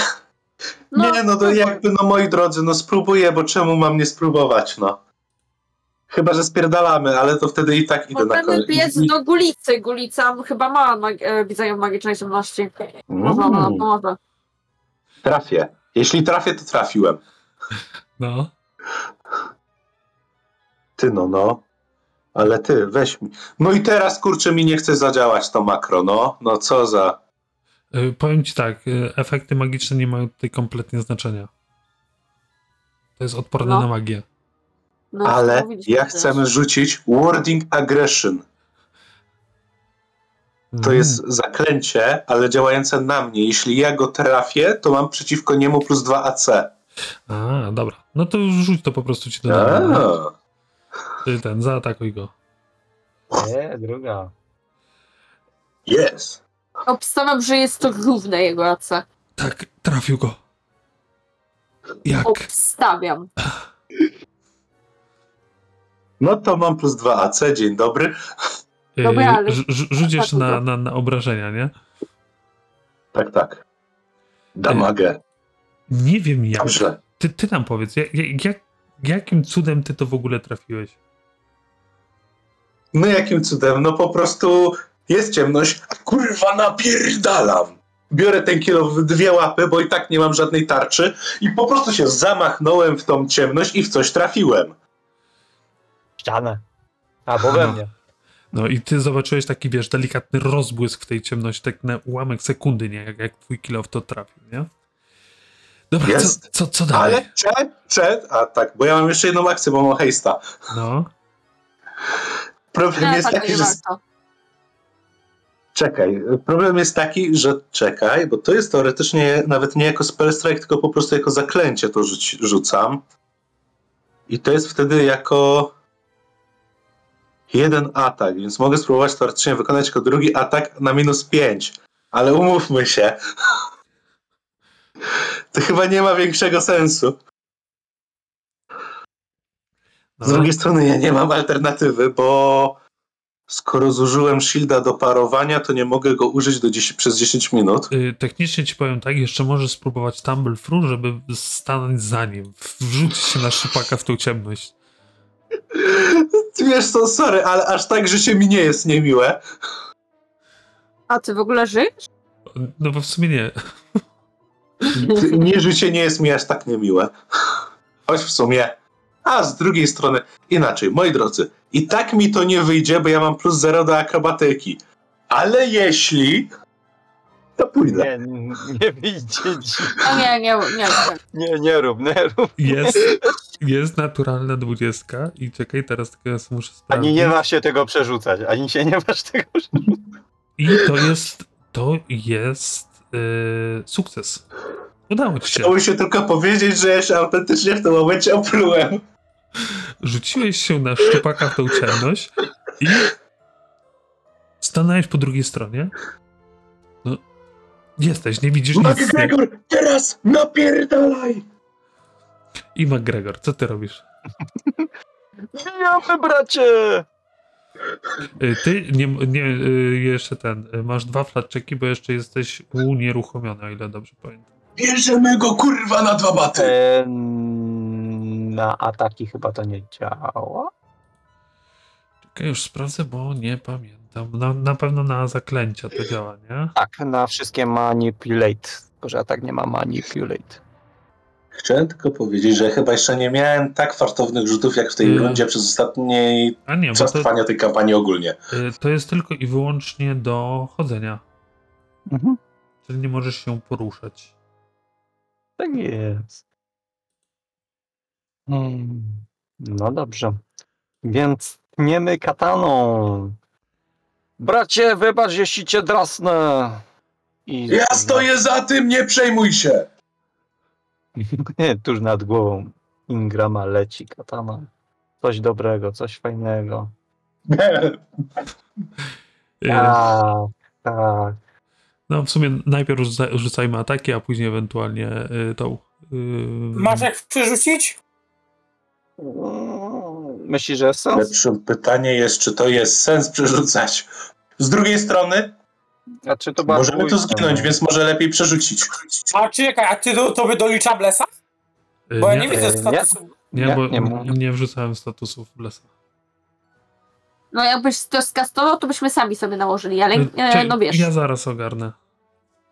S4: nie, no to jakby, no moi drodzy, no spróbuję, bo czemu mam nie spróbować, no. Chyba, że spierdalamy, ale to wtedy i tak idę na
S5: Potem
S4: koniec.
S5: pies do gulicy. Gulica chyba ma mag- e, widzenia w magicznej ciemności. Można, no,
S4: Mm,
S5: może.
S4: trafię. Jeśli trafię, to trafiłem.
S1: No.
S4: Ty no, no. Ale ty, weź mi. No i teraz, kurczę, mi nie chce zadziałać to makro, no. No co za...
S1: Y, Powiem ci tak, y, efekty magiczne nie mają tutaj kompletnie znaczenia. To jest odporne
S5: No.
S1: na magię.
S5: No,
S4: Ale
S5: mówiliśmy
S4: ja
S5: też.
S4: chcemy rzucić wording aggression. To
S1: Mhm.
S4: jest zaklęcie, ale działające na mnie. Jeśli ja go trafię, to mam przeciwko niemu plus 2 AC.
S1: A, dobra. No to już rzuć to po prostu ci dodam. no.
S4: A.
S1: Ty ten, zaatakuj go.
S2: Nie, E, druga.
S4: Yes.
S5: Obstawiam, że jest to równe jego AC.
S1: Tak, trafił go. Jak?
S5: Obstawiam.
S4: No to mam plus 2 AC, dzień dobry.
S1: Y,
S5: Dobra, ale-
S1: rzu- rzu- Rzuć jeszcze na,
S5: Atakuj
S1: na, na obrażenia, nie?
S4: Tak, tak. Damagę.
S1: Nie wiem jak.
S4: Dobrze.
S1: Ty, ty nam powiedz, jak, jak, jakim cudem ty to w ogóle trafiłeś?
S4: No jakim cudem? No po prostu jest ciemność. a Kurwa, napierdalam. Biorę ten kilo w dwie łapy, bo i tak nie mam żadnej tarczy i po prostu się zamachnąłem w tą ciemność i w coś trafiłem.
S2: Ścianę. A, bo we mnie.
S1: No i ty zobaczyłeś taki, wiesz, delikatny rozbłysk w tej ciemności, tak na ułamek sekundy, nie? Jak, jak twój kilo w to trafił, nie? Dobra, co,
S4: Jest.
S1: co, co dalej?
S4: Ale czet, czet, a tak, bo ja mam jeszcze jedną akcję, bo mam hejsta.
S1: No,
S4: Problem
S5: Nie,
S4: jest
S5: tak
S4: taki,
S5: nie
S4: że...
S5: warto.
S4: Czekaj, problem jest taki, że czekaj, bo to jest teoretycznie nawet nie jako spell strike, tylko po prostu jako zaklęcie to rzuć, rzucam. I to jest wtedy jako jeden atak, więc mogę spróbować teoretycznie wykonać jako drugi atak na minus 5. Ale umówmy się. To chyba nie ma większego sensu.
S1: no.
S4: Z drugiej strony ja nie mam alternatywy, bo skoro zużyłem shielda do parowania, to nie mogę go użyć do 10, przez 10 minut.
S1: Y, Technicznie ci powiem tak, jeszcze możesz spróbować tumble through, żeby stanąć za nim, wrzucić się na szypaka w tą ciemność.
S4: Wiesz co, sorry, ale aż tak życie mi nie jest niemiłe.
S5: A ty w ogóle żyjesz?
S1: No bo w sumie nie.
S4: Ty- Nie życie nie jest mi aż tak niemiłe. Choć w sumie. A z drugiej strony, inaczej, moi drodzy, i tak mi to nie wyjdzie, bo ja mam plus 0 do akrobatyki. Ale jeśli, to pójdę.
S2: Nie, nie wyjdzie ci.
S5: A No nie, nie, nie. nie.
S2: Nie, nie rób, nie rób.
S1: Jest, jest naturalna dwudziestka i czekaj, teraz tylko ja sobie muszę sprawdzić.
S2: Ani nie masz się tego przerzucać, ani się nie masz tego przerzucać.
S1: I to jest, to jest y, sukces. Udało ci się.
S4: Chciałbym się tylko powiedzieć, że ja się autentycznie w tym momencie oplułem.
S1: rzuciłeś się na szczupaka w tą ciemność i stanąłeś po drugiej stronie. No, jesteś, nie widzisz nic. Nie?
S4: MacGregor, teraz napierdalaj!
S1: I McGregor, co ty robisz?
S2: Mijamy, bracie!
S1: Y, Ty nie, nie y, jeszcze ten, y, masz dwa flatczeki, bo jeszcze jesteś unieruchomiony, o ile dobrze pamiętam.
S4: Bierzemy go kurwa na dwa baty!
S2: E, na ataki chyba to nie działa.
S1: już sprawdzę, bo nie pamiętam. Na, na pewno na zaklęcia to działa, nie?
S2: Tak, na wszystkie manipulate. Tylko, że ja tak nie mam manipulate.
S4: Chciałem tylko powiedzieć, że chyba jeszcze nie miałem tak fartownych rzutów jak w tej
S1: Mm.
S4: rundzie przez ostatni
S1: A nie, bo
S4: czas
S1: to,
S4: trwania tej kampanii ogólnie.
S1: y, to jest tylko i wyłącznie do chodzenia.
S2: Mhm.
S1: Czyli nie możesz się poruszać.
S2: Tak jest. Mm, No dobrze. Więc tniemy kataną. Bracie, wybacz, jeśli cię drasnę. I
S4: Ja stoję za tym, nie przejmuj się!
S2: Tuż nad głową Ingrama leci katana. Coś dobrego, coś fajnego.
S1: Y,
S2: Tak, tak.
S1: No w sumie najpierw rzuca- rzucajmy ataki, a później ewentualnie y, tą. y,
S3: Masz jak przerzucić?
S2: Myślisz, że jest sens?
S4: Lepsze pytanie jest, czy to jest sens przerzucać? Z drugiej strony,
S2: A czy to była
S4: możemy
S1: no.
S4: tu
S2: dwójka?
S4: zginąć, więc może lepiej przerzucić.
S3: A czekaj, a ty do, to by dolicza blesa?
S1: y,
S3: Bo ja
S1: nie,
S3: nie widzę
S2: e, nie.
S3: statusu.
S1: nie,
S2: nie,
S1: bo
S2: nie
S1: nie,
S2: ma.
S1: wrzucałem statusów Blesa.
S5: No jakbyś to skastował, to byśmy sami sobie nałożyli, ale
S1: Y,
S5: e,
S1: czy-
S5: no wiesz,
S1: Ja zaraz ogarnę.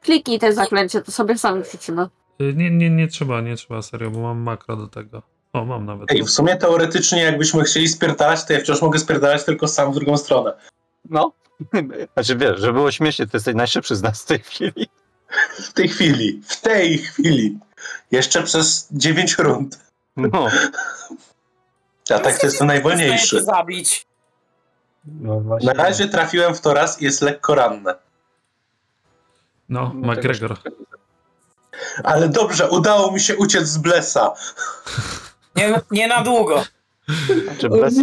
S5: kliknij te zaklęcie, to sobie sami wrzucimy.
S1: Y, Nie, nie, nie trzeba, nie trzeba, serio, bo mam makro do tego. O, mam nawet.
S4: Ej, w sumie teoretycznie, jakbyśmy chcieli spierdalać, to ja wciąż mogę spierdalać tylko sam w drugą stronę.
S2: No. Znaczy wiesz, że było śmiesznie, ty jesteś najszybszy z nas w tej chwili.
S4: W tej chwili, w tej chwili. Jeszcze przez 9 rund.
S2: No,
S4: A tak to jestem najwolniejszy.
S3: Chcę zabić.
S2: no właśnie.
S4: Na razie trafiłem w to raz i jest lekko ranne.
S1: No,
S2: No, tego
S1: McGregor.
S4: tak. Ale dobrze, udało mi się uciec z Blesa.
S3: Nie, nie na długo.
S2: Znaczy bez,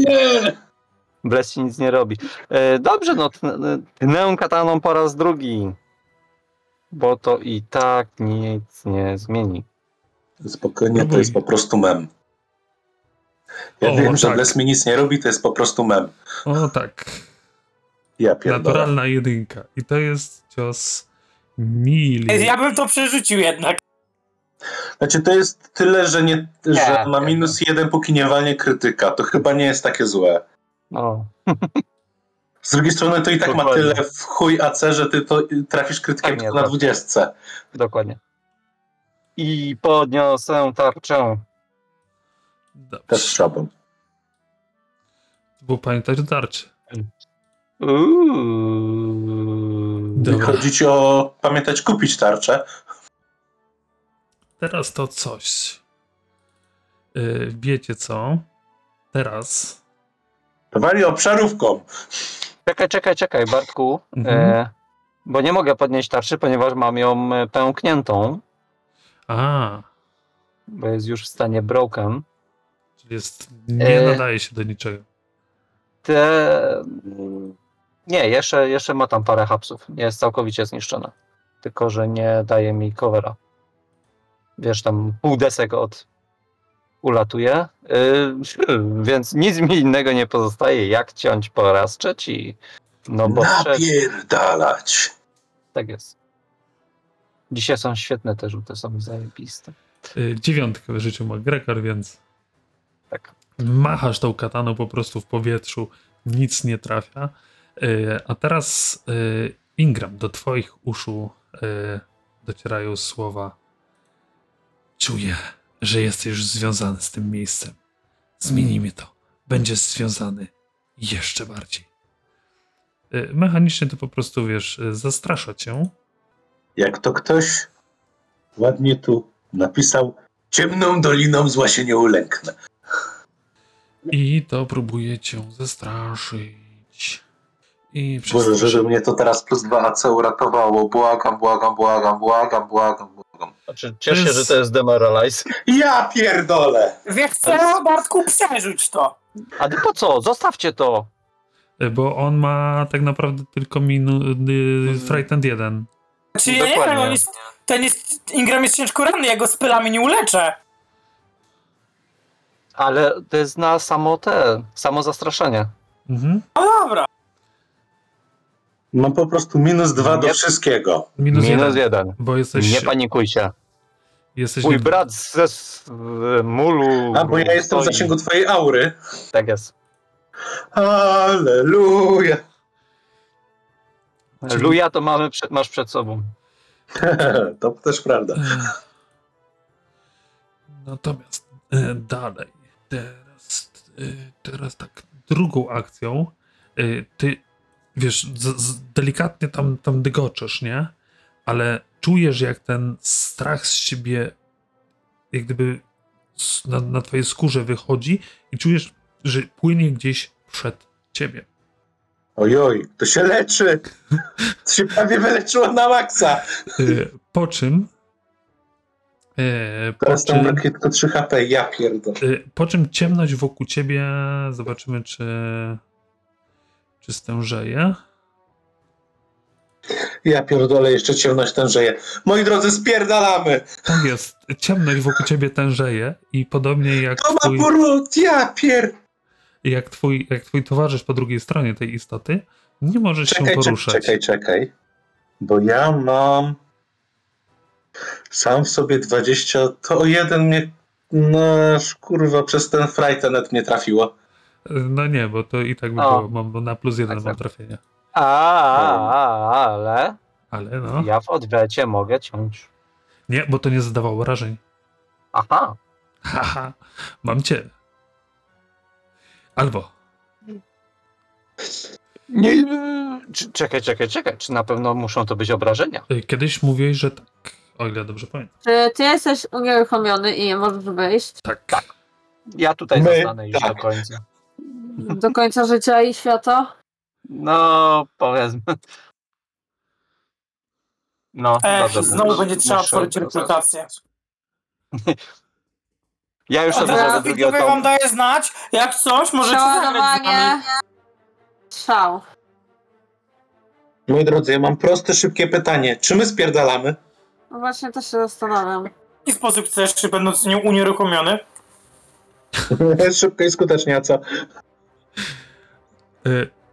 S2: bez się nic nie robi. E, dobrze, no tnę- tnę kataną po raz drugi. Bo to i tak nic nie zmieni.
S4: Spokojnie, to jest po prostu mem. Ja
S1: O,
S4: wiem, że
S1: tak.
S4: Les mi nic nie robi, to jest po prostu mem.
S1: O tak.
S4: Ja pierdolę.
S1: Naturalna jedynka. I to jest cios mili.
S3: Ja bym to przerzucił jednak.
S4: Znaczy, to jest tyle, że, nie, że
S2: Nie,
S4: ma
S2: nie,
S4: minus jeden, póki nie walnie krytyka. To chyba nie jest takie złe.
S2: No,
S4: Z drugiej strony to i tak ma
S2: Dokładnie.
S4: tyle w chuj AC, że ty to trafisz krytykiem
S2: Tak, nie,
S4: tylko na
S2: tak.
S4: dwudziestce.
S2: dokładnie. I podniosę tarczę.
S4: Też
S1: Dobrze.
S4: szabą.
S1: Bo pamiętać o tarczy.
S2: Uuu.
S1: Dobra.
S4: Chodzi ci o pamiętać kupić tarczę.
S1: Teraz to coś. Y, wiecie co? Teraz.
S4: Dawali obszarówką.
S2: Czekaj, czekaj, czekaj, Bartku.
S1: Mhm.
S2: E, bo nie mogę podnieść tarczy, ponieważ mam ją e, pękniętą,
S1: A,
S2: bo jest już w stanie broken.
S1: czyli jest. Nie
S2: E.
S1: nadaje się do niczego.
S2: Te... Nie, jeszcze, jeszcze ma tam parę hapsów. Nie Jest całkowicie zniszczona. Tylko, że nie daje mi covera. Wiesz, tam pół desek od ulatuje. Yy, więc nic mi innego nie pozostaje, jak ciąć po raz trzeci. No bo trzeci,
S4: Napierdalać.
S2: tak jest. Dzisiaj są świetne te rzuty, są zajebiste.
S1: Y, dziewiątkę w życiu ma Grekor, więc.
S2: Tak.
S1: Machasz tą kataną po prostu w powietrzu, nic nie trafia. Y, A teraz y, Ingram, do Twoich uszu y, docierają słowa. Czuję, że jesteś już związany z tym miejscem. Zmienimy to. Będziesz związany jeszcze bardziej. Y, Mechanicznie to po prostu wiesz, y, zastrasza cię.
S4: Jak to ktoś ładnie tu napisał, ciemną doliną zła się nie ulęknę.
S1: I to próbuje cię zastraszyć. I
S4: Boże, że,
S1: przestraszy-
S4: że mnie to teraz plus 2 AC uratowało. Błagam, błagam, błagam, błagam, błagam, błagam.
S2: Znaczy,
S1: cieszę się, że to
S2: jest demoralize.
S4: Ja pierdolę!
S3: Wiesz co, Bartku, przerzuć to.
S2: A ty po co? Zostawcie to!
S1: Bo on ma tak naprawdę tylko minu, y, Frightened 1.
S3: Czy Znaczy, ja nie wiem,
S2: Dokładnie.
S3: on jest, ten jest, Ingram jest ciężko ranny, ja go z pylami nie uleczę.
S2: Ale to jest na samo te, samo zastraszenie.
S1: Mhm.
S3: No dobra.
S4: Mam po prostu minus 2 do
S2: Nie.
S4: wszystkiego.
S1: Minus,
S2: Minus
S1: 1.
S2: jeden.
S1: Bo jesteś.
S2: Nie panikujcie.
S1: jesteś
S2: Mój
S1: nie-
S2: brat ze z, z mulu.
S4: A bo ja jestem w
S2: stoi.
S4: zasięgu twojej aury.
S2: Tak jest.
S4: Aleluja!
S2: Luja to mamy przed, masz przed sobą.
S4: to też prawda.
S1: E, Natomiast e, dalej, teraz, e, teraz tak, drugą akcją, e, ty wiesz, z, z, delikatnie tam, tam dygoczesz, nie? Ale czujesz, jak ten strach z siebie, jak gdyby s- na, na twojej skórze wychodzi i czujesz, że płynie gdzieś przed ciebie.
S4: Ojoj, to się leczy! To się prawie wyleczyło na maksa!
S1: E, po czym... E, po
S4: Teraz tam
S1: czym...
S4: brakuje tylko 3 HP, ja pierdolę.
S1: Y, Po czym ciemność wokół ciebie, zobaczymy czy, czy stężeje.
S4: Ja pierdolę, jeszcze ciemność tężeje. Moi drodzy, spierdalamy!
S1: Tak jest, ciemność wokół ciebie tężeje i podobnie jak
S4: To ma
S1: twój,
S4: poród, ja pier...
S1: jak, twój, jak twój towarzysz po drugiej stronie tej istoty, nie możesz się
S4: Czekaj, czekaj,
S1: poruszać. Y,
S4: czekaj, czekaj. Bo ja mam sam w sobie 20, to o jeden mnie, no kurwa, przez ten frajtenet mnie trafiło.
S1: Y, No nie, bo to i tak by
S2: O.
S1: było, mam bo na plus jeden
S2: Tak,
S1: mam
S2: tak.
S1: trafienie.
S2: A, a, a, ale
S1: Ale no,
S2: ja w odwecie mogę ciąć.
S1: nie, bo to nie zadawało wrażeń.
S2: Aha,
S1: Haha, mam cię. Albo,
S2: nie, y, czy- czekaj, czekaj, czekaj, czy na pewno muszą to być obrażenia?
S1: y, kiedyś mówiłeś, że tak, o ile dobrze pamiętam.
S5: Czy ty jesteś unieruchomiony i nie możesz wyjść
S1: Tak.
S2: Ja tutaj
S6: My-
S2: zostanę już
S6: tak.
S2: do końca.
S5: do końca życia i świata?
S2: No, powiedzmy. No,
S3: Ech,
S2: dobrze,
S3: E, znowu
S2: muszę-
S3: będzie trzeba
S2: muszę
S3: otworzyć
S2: odwracać.
S3: reputację.
S2: Ja już
S3: A
S2: sobie
S5: Proszę bardzo,
S3: teraz
S2: zrobię drugiego
S3: widzowie
S2: tomu.
S3: wam tak- daje znać, jak coś, możecie zagrać z nami.
S5: Przeładowanie. Strzał.
S4: Moi drodzy, ja mam proste, szybkie pytanie. Czy my spierdalamy?
S5: No Właśnie też się zastanawiam.
S3: W jaki sposób chcesz, czy będąc nie unieruchomiony?
S4: Szybko i skutecznie, a co?
S1: E,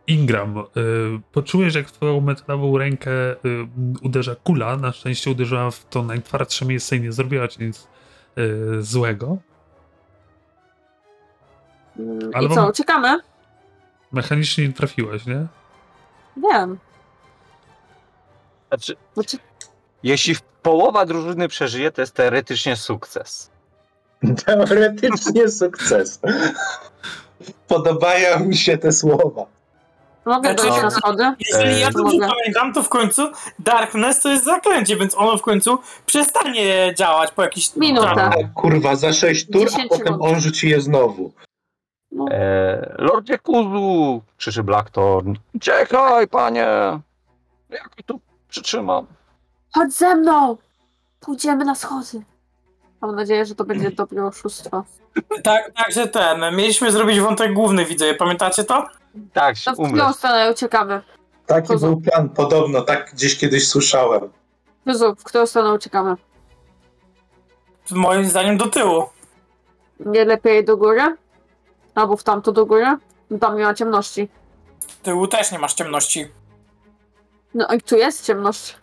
S1: Ingram, e, poczułeś, jak w twoją metalową rękę e, uderza kula. Na szczęście uderzyła w to najtwardsze miejsce i nie zrobiła ci nic e, złego.
S5: Mm,
S1: Ale
S5: I co,
S1: wam-
S5: uciekamy?
S1: Mechanicznie nie trafiłeś, nie?
S5: Wiem.
S2: Znaczy,
S5: Znaczy,
S2: jeśli połowa drużyny przeżyje, to jest teoretycznie sukces.
S4: Teoretycznie sukces. Podobają mi się te słowa.
S5: mogę
S3: Znaczy-
S5: dojść na schody?
S3: Jeżeli ja
S2: Eee,
S3: dobrze
S5: mogę.
S3: pamiętam, to w końcu Darkness to jest zaklęcie, więc ono w końcu przestanie działać po jakiś
S5: Minuta.
S4: A kurwa, za 6 tur, a
S5: 10
S4: potem
S5: rund.
S4: on rzuci je znowu.
S5: No,
S2: E, Lordzie Kuzu, krzyczy Blackthorn. Czekaj, panie! Ja go tu przytrzymam.
S5: Chodź ze mną! Pójdziemy na schody. Mam nadzieję, że to będzie dobre oszustwo.
S3: Tak, także ten, mieliśmy zrobić wątek główny, widzę, pamiętacie to?
S2: Tak,
S5: No
S2: się
S5: w którą
S2: umrę.
S5: stronę uciekamy?
S4: Taki
S5: Poza-
S4: był plan, podobno, tak gdzieś kiedyś słyszałem.
S5: Jezu, w którą stronę uciekamy?
S3: Moim zdaniem do tyłu.
S5: Nie lepiej do góry? Albo w tamto do góry? No Tam nie ma ciemności.
S3: Tyłu też nie masz ciemności.
S5: No i tu jest ciemność.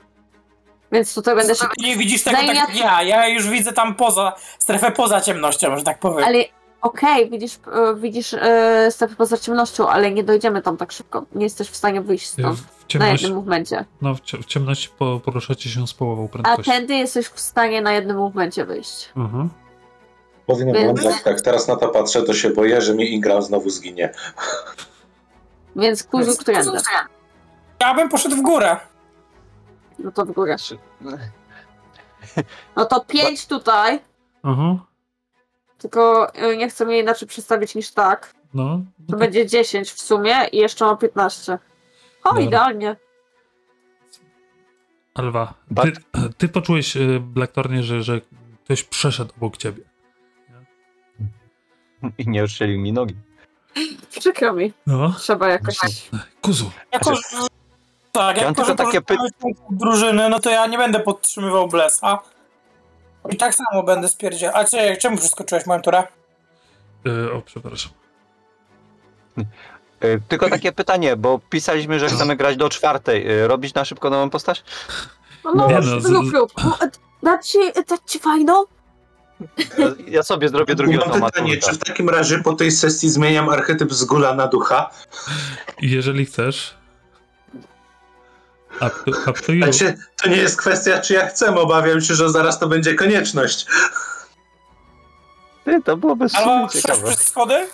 S5: Więc tutaj będę się...
S3: Nie widzisz tego
S5: Zajmie-
S3: tak jak ja, ja już widzę tam poza, strefę poza ciemnością, że tak powiem.
S5: Ale okej, widzisz, e, widzisz e, strefę poza ciemnością, ale nie dojdziemy tam tak szybko. Nie jesteś w stanie wyjść
S1: E,
S5: stąd
S1: W
S5: na
S1: ciemności,
S5: jednym momencie.
S1: no, w cie- w ciemności po, poruszacie się z połową
S5: A
S1: prędkości.
S5: tędy jesteś w stanie na jednym momencie wyjść.
S1: Mhm.
S4: Powinien
S5: Więc-
S4: wyglądać tak, Teraz na to patrzę, to się boję, że mi Ingram znowu zginie.
S5: Więc kuzu, którędy?
S3: Ja bym poszedł w górę.
S5: No to w górę.
S2: Czy-
S5: No to pięć tutaj,
S1: Aha.
S5: tylko e, nie chcę jej inaczej przedstawić niż tak.
S1: No,
S5: To będzie 10 w sumie i jeszcze mam 15. O,
S1: Dobra.
S5: idealnie.
S1: Alwa, ty,
S2: Bat-
S1: ty poczułeś, y, Blackthornie, że, że ktoś przeszedł obok ciebie.
S2: I nie uszczelił mi nogi.
S5: Przykro mi.
S1: No.
S5: Trzeba jakoś...
S1: Kuzu,
S3: Jako,
S2: Znaczy-
S3: że- tak,
S2: Ja mam
S3: jako, że
S2: tylko takie py-
S3: korzystamy z drużyny, no to ja nie będę podtrzymywał Blesa. I tak samo będę spierdział. A czy, czemu przeskoczyłeś moją turę?
S1: y, o przepraszam.
S2: E, Tylko takie pytanie, bo pisaliśmy, że chcemy grać do czwartej. E, Robić na szybko nową postać?
S5: No, no,
S1: Nie
S5: nie
S1: no,
S5: no
S1: z-
S5: zrób,
S1: z-
S5: rób. O, e, Dać ci, dać ci fajną?
S2: Ja sobie zrobię drugi
S4: Mam
S2: automat.
S4: pytanie,
S2: kurwa.
S4: czy w takim razie po tej sesji zmieniam archetyp z gula na ducha?
S1: Jeżeli chcesz. Up to, up to you.
S4: Znaczy, to nie jest kwestia, czy ja chcę, obawiam się, że zaraz to będzie konieczność.
S2: Ty, to byłoby
S3: Ale mam
S2: super
S3: przejść
S2: ciekawe.
S3: przez schody?
S1: Eee.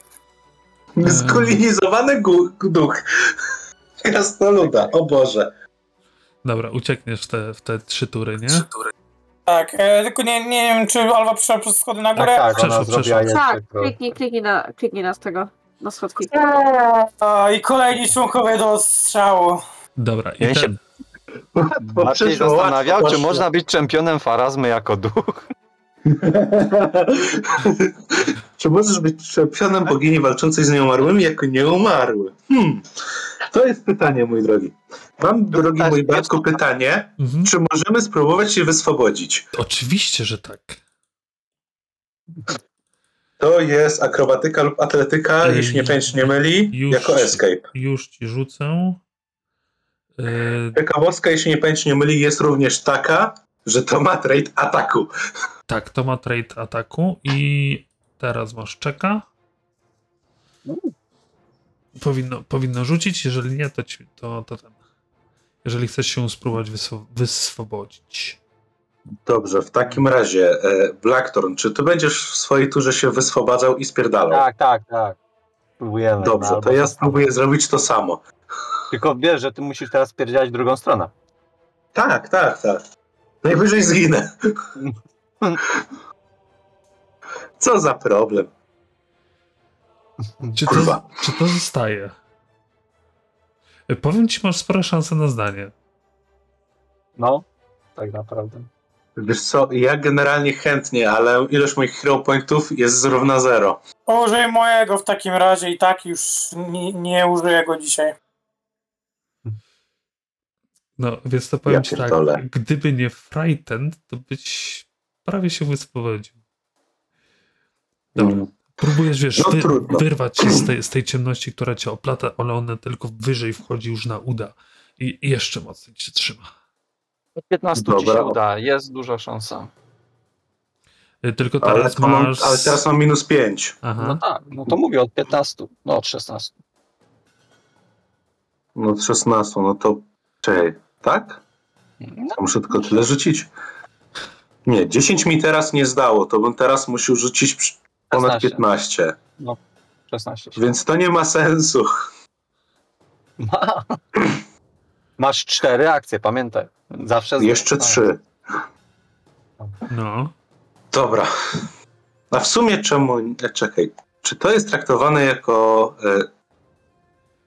S4: Zgulinizowany gu- duch. Krasnoluda, o Boże.
S1: Dobra, uciekniesz te, w te trzy tury, nie?
S3: Tak, e, tylko nie, nie wiem, czy Alwa przeszła przez schody na
S2: Tak,
S3: górę.
S2: tak,
S1: Przeszło,
S2: ona zrobiła
S1: przeszło.
S2: jeszcze.
S5: Tak,
S2: pro-
S5: kliknij, kliknij na, kliknij na z tego, na schodki.
S3: A, I kolejni członkowie do strzału.
S1: Dobra, i
S2: Ja się-
S1: ten,
S2: Bardziej
S4: przeszło,
S2: zastanawiał,
S4: łatwo
S2: czy
S4: poszło.
S2: można być czempionem farazmy jako duch.
S4: Czy możesz być czempionem bogini walczącej z nieumarłymi jako nieumarły? Hmm. To jest pytanie, mój drogi. Mam, drogi
S2: też
S4: mój
S2: jest-
S4: Bartku, pytanie.
S1: mhm.
S4: Czy możemy spróbować się wyswobodzić?
S1: Oczywiście, że tak.
S4: To jest akrobatyka lub atletyka,
S1: Ej,
S4: jeśli mnie pamięć nie myli,
S1: już.
S4: jako escape.
S1: Już ci rzucę. Yy,
S4: Ciekawostka, jeśli mnie pamięć nie myli, jest również taka, że to ma trade ataku.
S1: tak, to ma trade ataku i teraz masz czeka. Powinno, powinno rzucić, jeżeli nie, to, ci, to, to ten. Jeżeli chcesz się spróbować wyswo- wyswobodzić.
S4: Dobrze, w takim razie, e, Blackthorn, czy ty będziesz w swojej turze się wyswobadzał i spierdalał?
S2: Tak, tak, tak. Spróbujemy. no,
S4: Dobrze,
S2: albo-
S4: to ja spróbuję zrobić to samo.
S2: Tylko wiesz, że ty musisz teraz spierdziać drugą stronę.
S4: Tak, tak, tak. Najwyżej zginę. Co za problem.
S1: Czy to,
S4: Kurwa.
S1: czy to zostaje? Yy, Powiem ci, masz spore szanse na zdanie.
S2: No, tak naprawdę.
S4: Wiesz co, ja generalnie chętnie, ale ilość moich hero pointów jest zrówna zero.
S3: Użyj mojego w takim razie i tak już nie, nie użyję go dzisiaj.
S1: No, więc to powiem
S4: Ja
S1: ci
S4: pierdolę.
S1: tak, gdyby nie Frightened, to byś prawie się wyspowiedził. Dobra.
S4: Mm.
S1: Próbujesz, wiesz,
S4: No
S1: wy,
S4: trudno.
S1: wyrwać się z tej, z tej ciemności, która cię oplata, ale ona tylko wyżej wchodzi już na uda i i jeszcze mocniej cię trzyma.
S2: Od 15 ci
S4: Dobra.
S2: się uda, jest duża szansa.
S1: Y, Tylko
S4: Ale,
S1: teraz
S4: to mam,
S1: masz...
S4: ale teraz mam minus 5.
S2: No
S1: Aha.
S2: tak, no to mówię od 15, no od 16.
S4: No 16, no to... Czekaj, tak?
S2: No,
S4: To muszę tylko tyle rzucić. Nie, 10 mi teraz nie zdało, to bym teraz musiał rzucić przy- ponad
S2: 16.
S4: 15.
S2: 16. się
S4: Więc to nie ma sensu.
S2: Ma. Masz cztery akcje, pamiętaj. Zawsze z-
S4: Jeszcze
S2: A,
S4: 3.
S1: No.
S4: Dobra. A w sumie czemu. e, Czekaj. Czy to jest traktowane jako. e,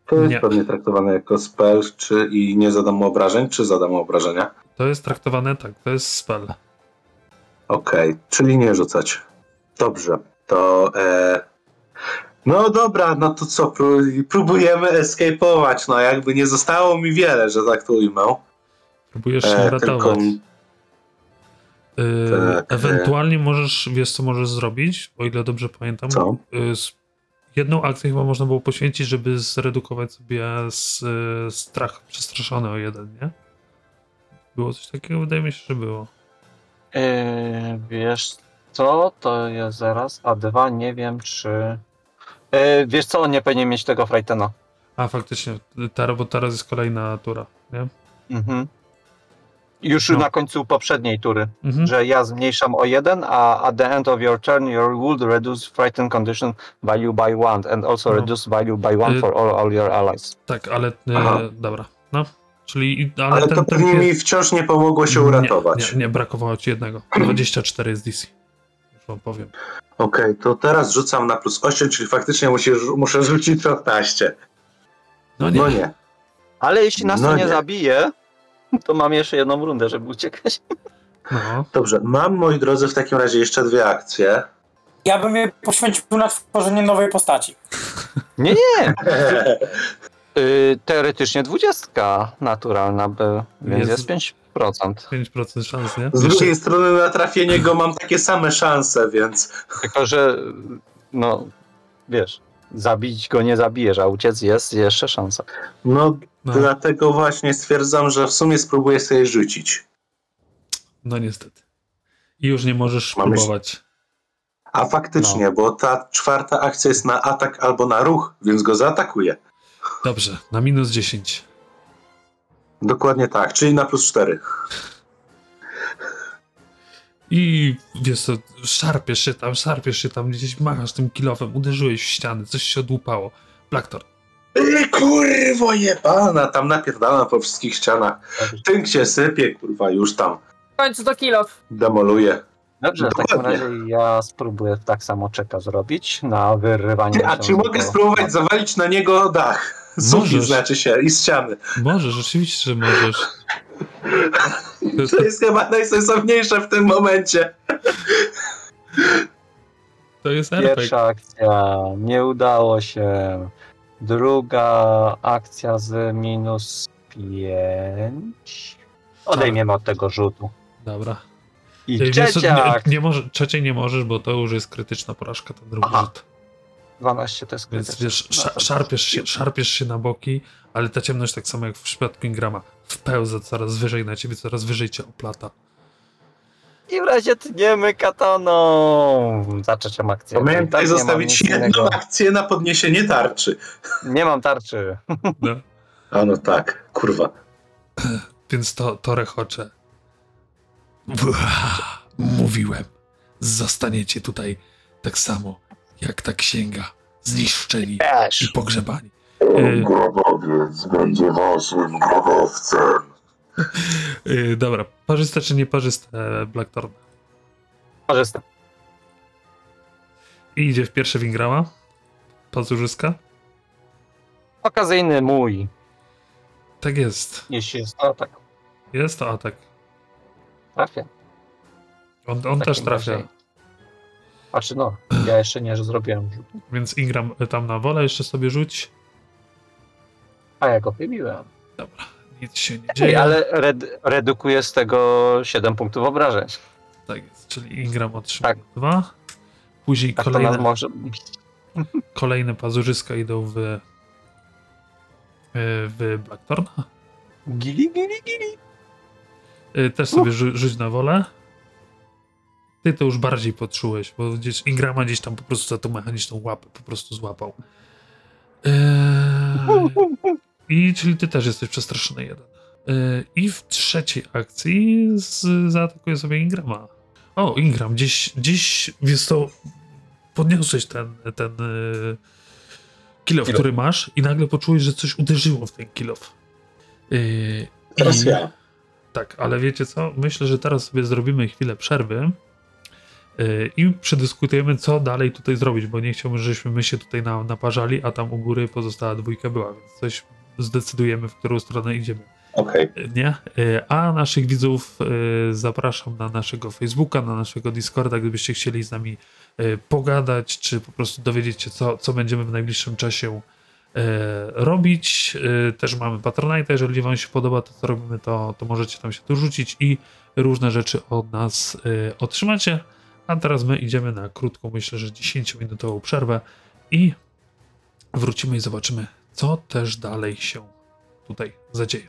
S4: To jest
S1: Nie.
S4: pewnie traktowane jako spell, czy i nie zadam mu obrażeń, czy zadam mu obrażenia?
S1: To jest traktowane tak, to jest spell.
S4: Okej, czyli nie rzucać. Dobrze, to. E... No dobra, no to co, pró- próbujemy escape'ować, no jakby nie zostało mi wiele, że tak to ujmę.
S1: Próbujesz się
S4: E,
S1: ratować. Y,
S4: tak, e.
S1: ewentualnie możesz, wiesz co możesz zrobić, o ile dobrze pamiętam,
S4: Co?
S1: y, z- jedną akcję chyba można było poświęcić, żeby zredukować sobie z, y, strach przestraszony o jeden, nie? Było coś takiego? Wydaje mi się, że było.
S2: Yy, wiesz co, to jest zaraz, a dwa nie wiem czy... Yy, wiesz co, on nie powinien mieć tego Frightena.
S1: A faktycznie, ta, bo teraz jest kolejna tura, nie?
S2: Mhm. Już
S1: No.
S2: na końcu poprzedniej tury,
S1: Mhm.
S2: że ja zmniejszam o jeden, a at the end of your turn your would reduce frightened condition value by one and also
S1: No.
S2: reduce value by one
S1: Y-
S2: for all, all your allies.
S1: Tak, ale y,
S4: Aha.
S1: dobra, no. Czyli, ale,
S4: Ale
S1: ten,
S4: to
S1: ten
S4: pewnie
S1: pier-
S4: mi wciąż nie pomogło się uratować.
S1: Nie, nie, nie, brakowało ci jednego. 24 jest DC. Już wam powiem.
S4: Okej, to teraz rzucam na plus 8, czyli faktycznie musi, muszę rzucić 15.
S1: No nie,
S4: No nie.
S2: Ale jeśli nas
S4: No
S2: to nie,
S4: nie.
S2: zabije, to mam jeszcze jedną rundę, żeby uciekać.
S1: no.
S4: Dobrze, mam moi drodzy w takim razie jeszcze dwie akcje.
S3: Ja bym je poświęcił na tworzenie nowej postaci.
S2: Nie, nie. Y, teoretycznie 20 naturalna by, więc
S1: Jest-
S2: jest, 5%.
S1: 5% szans, nie?
S4: Z
S2: Jeszcze-
S4: drugiej strony na trafienie go mam takie same szanse, więc
S2: Tylko, że no, wiesz, zabić go nie zabijesz, a uciec jest jeszcze szansa.
S4: no,
S1: No,
S4: dlatego właśnie stwierdzam, że w sumie spróbuję sobie rzucić.
S1: no niestety. I już nie możesz
S4: Mamy-
S1: próbować.
S4: A faktycznie,
S1: No.
S4: bo ta czwarta akcja jest na atak albo na ruch, więc go zaatakuje.
S1: Dobrze, na minus 10.
S4: Dokładnie tak, czyli na plus cztery.
S1: I wiesz co, szarpiesz się tam, szarpiesz się tam, gdzieś machasz tym kilofem, uderzyłeś w ściany, coś się odłupało. Blacktor,
S4: Yy, kurwo jebana, tam napierdala po wszystkich ścianach. Tynk się sypie, kurwa, już tam
S7: W końcu do kilof.
S4: demoluje.
S2: Dobrze, No, w takim
S4: Dokładnie.
S2: razie ja spróbuję tak samo czeka zrobić na wyrywanie.
S4: Ty, a
S2: się
S4: czy
S2: z
S4: mogę
S2: tego-
S4: spróbować zawalić na niego dach? Zuki
S1: Możesz.
S4: znaczy się i z ściany.
S1: możesz, oczywiście, że możesz. To jest,
S4: To jest chyba najsensowniejsze w tym momencie.
S1: to jest RPG.
S2: Pierwsza akcja nie udało się. Druga akcja z minus 5. Odejmiemy od tego rzutu.
S1: Dobra.
S2: I
S1: Ej, wiesz co,
S2: trzecia
S1: nie,
S2: akcja.
S1: nie może, trzeciej nie możesz, bo to już jest krytyczna porażka, ten drugi
S2: Aha.
S1: rzut.
S2: 12 to jest
S1: Więc
S2: krytyczne.
S1: wiesz, sza, szarpiesz, się, szarpiesz się na boki, ale ta ciemność, tak samo jak w przypadku Ingrama, wpełza coraz wyżej na ciebie, coraz wyżej cię oplata.
S2: I w razie tniemy kataną za trzecią akcję. tak
S4: Pamiętaj
S2: nie mam
S4: zostawić
S2: nic
S4: jedną
S2: innego.
S4: akcję na podniesienie tarczy.
S2: Nie mam tarczy.
S1: No.
S4: A no tak, kurwa.
S1: Więc to, to rechocze. Bła, Mówiłem. Zostaniecie tutaj tak samo, jak ta księga. Zniszczeni i
S2: Też.
S1: pogrzebani. Y,
S4: Grobowiec będzie waszym grobowcem.
S1: y, dobra, parzyste czy nieparzyste e, Blackthorn?
S2: Korzystam.
S1: I idzie w pierwsze Wingrama. Pazurzyska.
S2: Okazyjny mój.
S1: Tak jest.
S2: Jeśli jest to tak.
S1: Jest to atak.
S2: Trafię.
S1: On, on
S2: W
S1: też
S2: takim
S1: trafia.
S2: razie- Znaczy no, ja jeszcze nie zrobiłem rzutu.
S1: Więc Ingram y, tam na wolę jeszcze sobie rzuć.
S2: A ja go wybiłem.
S1: Dobra, nic się nie
S2: Ej,
S1: dzieje.
S2: ale red, redukuje z tego 7 punktów obrażeń.
S1: Tak jest, czyli Ingram otrzyma
S2: Tak.
S1: dwa. Później
S2: Tak to
S1: kolejne,
S2: nas może...
S1: kolejne pazurzyska idą w, y, w Blackthorna.
S2: Gili, gili, gili.
S1: Y, Też sobie rzu- rzuć na wolę. Ty to już bardziej poczułeś, bo gdzieś Ingrama gdzieś tam po prostu za tą mechaniczną łapę po prostu złapał. Eee, I czyli ty też jesteś przestraszony jeden. Yy, I w trzeciej akcji z, zaatakuje sobie Ingrama. O, Ingram, gdzieś, gdzieś wiesz to podniosłeś ten, ten yy, kill off,
S6: Kill off.
S1: który masz i nagle poczułeś, że coś uderzyło w ten kill off. Yy,
S6: Teraz
S1: i-
S6: ja.
S1: Tak, ale wiecie co? Myślę, że teraz sobie zrobimy chwilę przerwy yy, i przedyskutujemy, co dalej tutaj zrobić, bo nie chciałbym, żebyśmy my się tutaj na, naparzali, a tam u góry pozostała dwójka była, więc coś zdecydujemy, w którą stronę idziemy.
S4: Okej.
S1: Nie? Y, A naszych widzów y, zapraszam na naszego Facebooka, na naszego Discorda, gdybyście chcieli z nami y, pogadać, czy po prostu dowiedzieć się, co, co będziemy w najbliższym czasie y, robić. Y, Też mamy Patronite, jeżeli wam się podoba to, co robimy, to, to możecie tam się tu rzucić i różne rzeczy od nas y, otrzymacie. A teraz my idziemy na krótką, myślę, że 10-minutową przerwę i wrócimy i zobaczymy, co też dalej się tutaj zadzieje.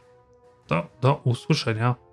S1: To do usłyszenia.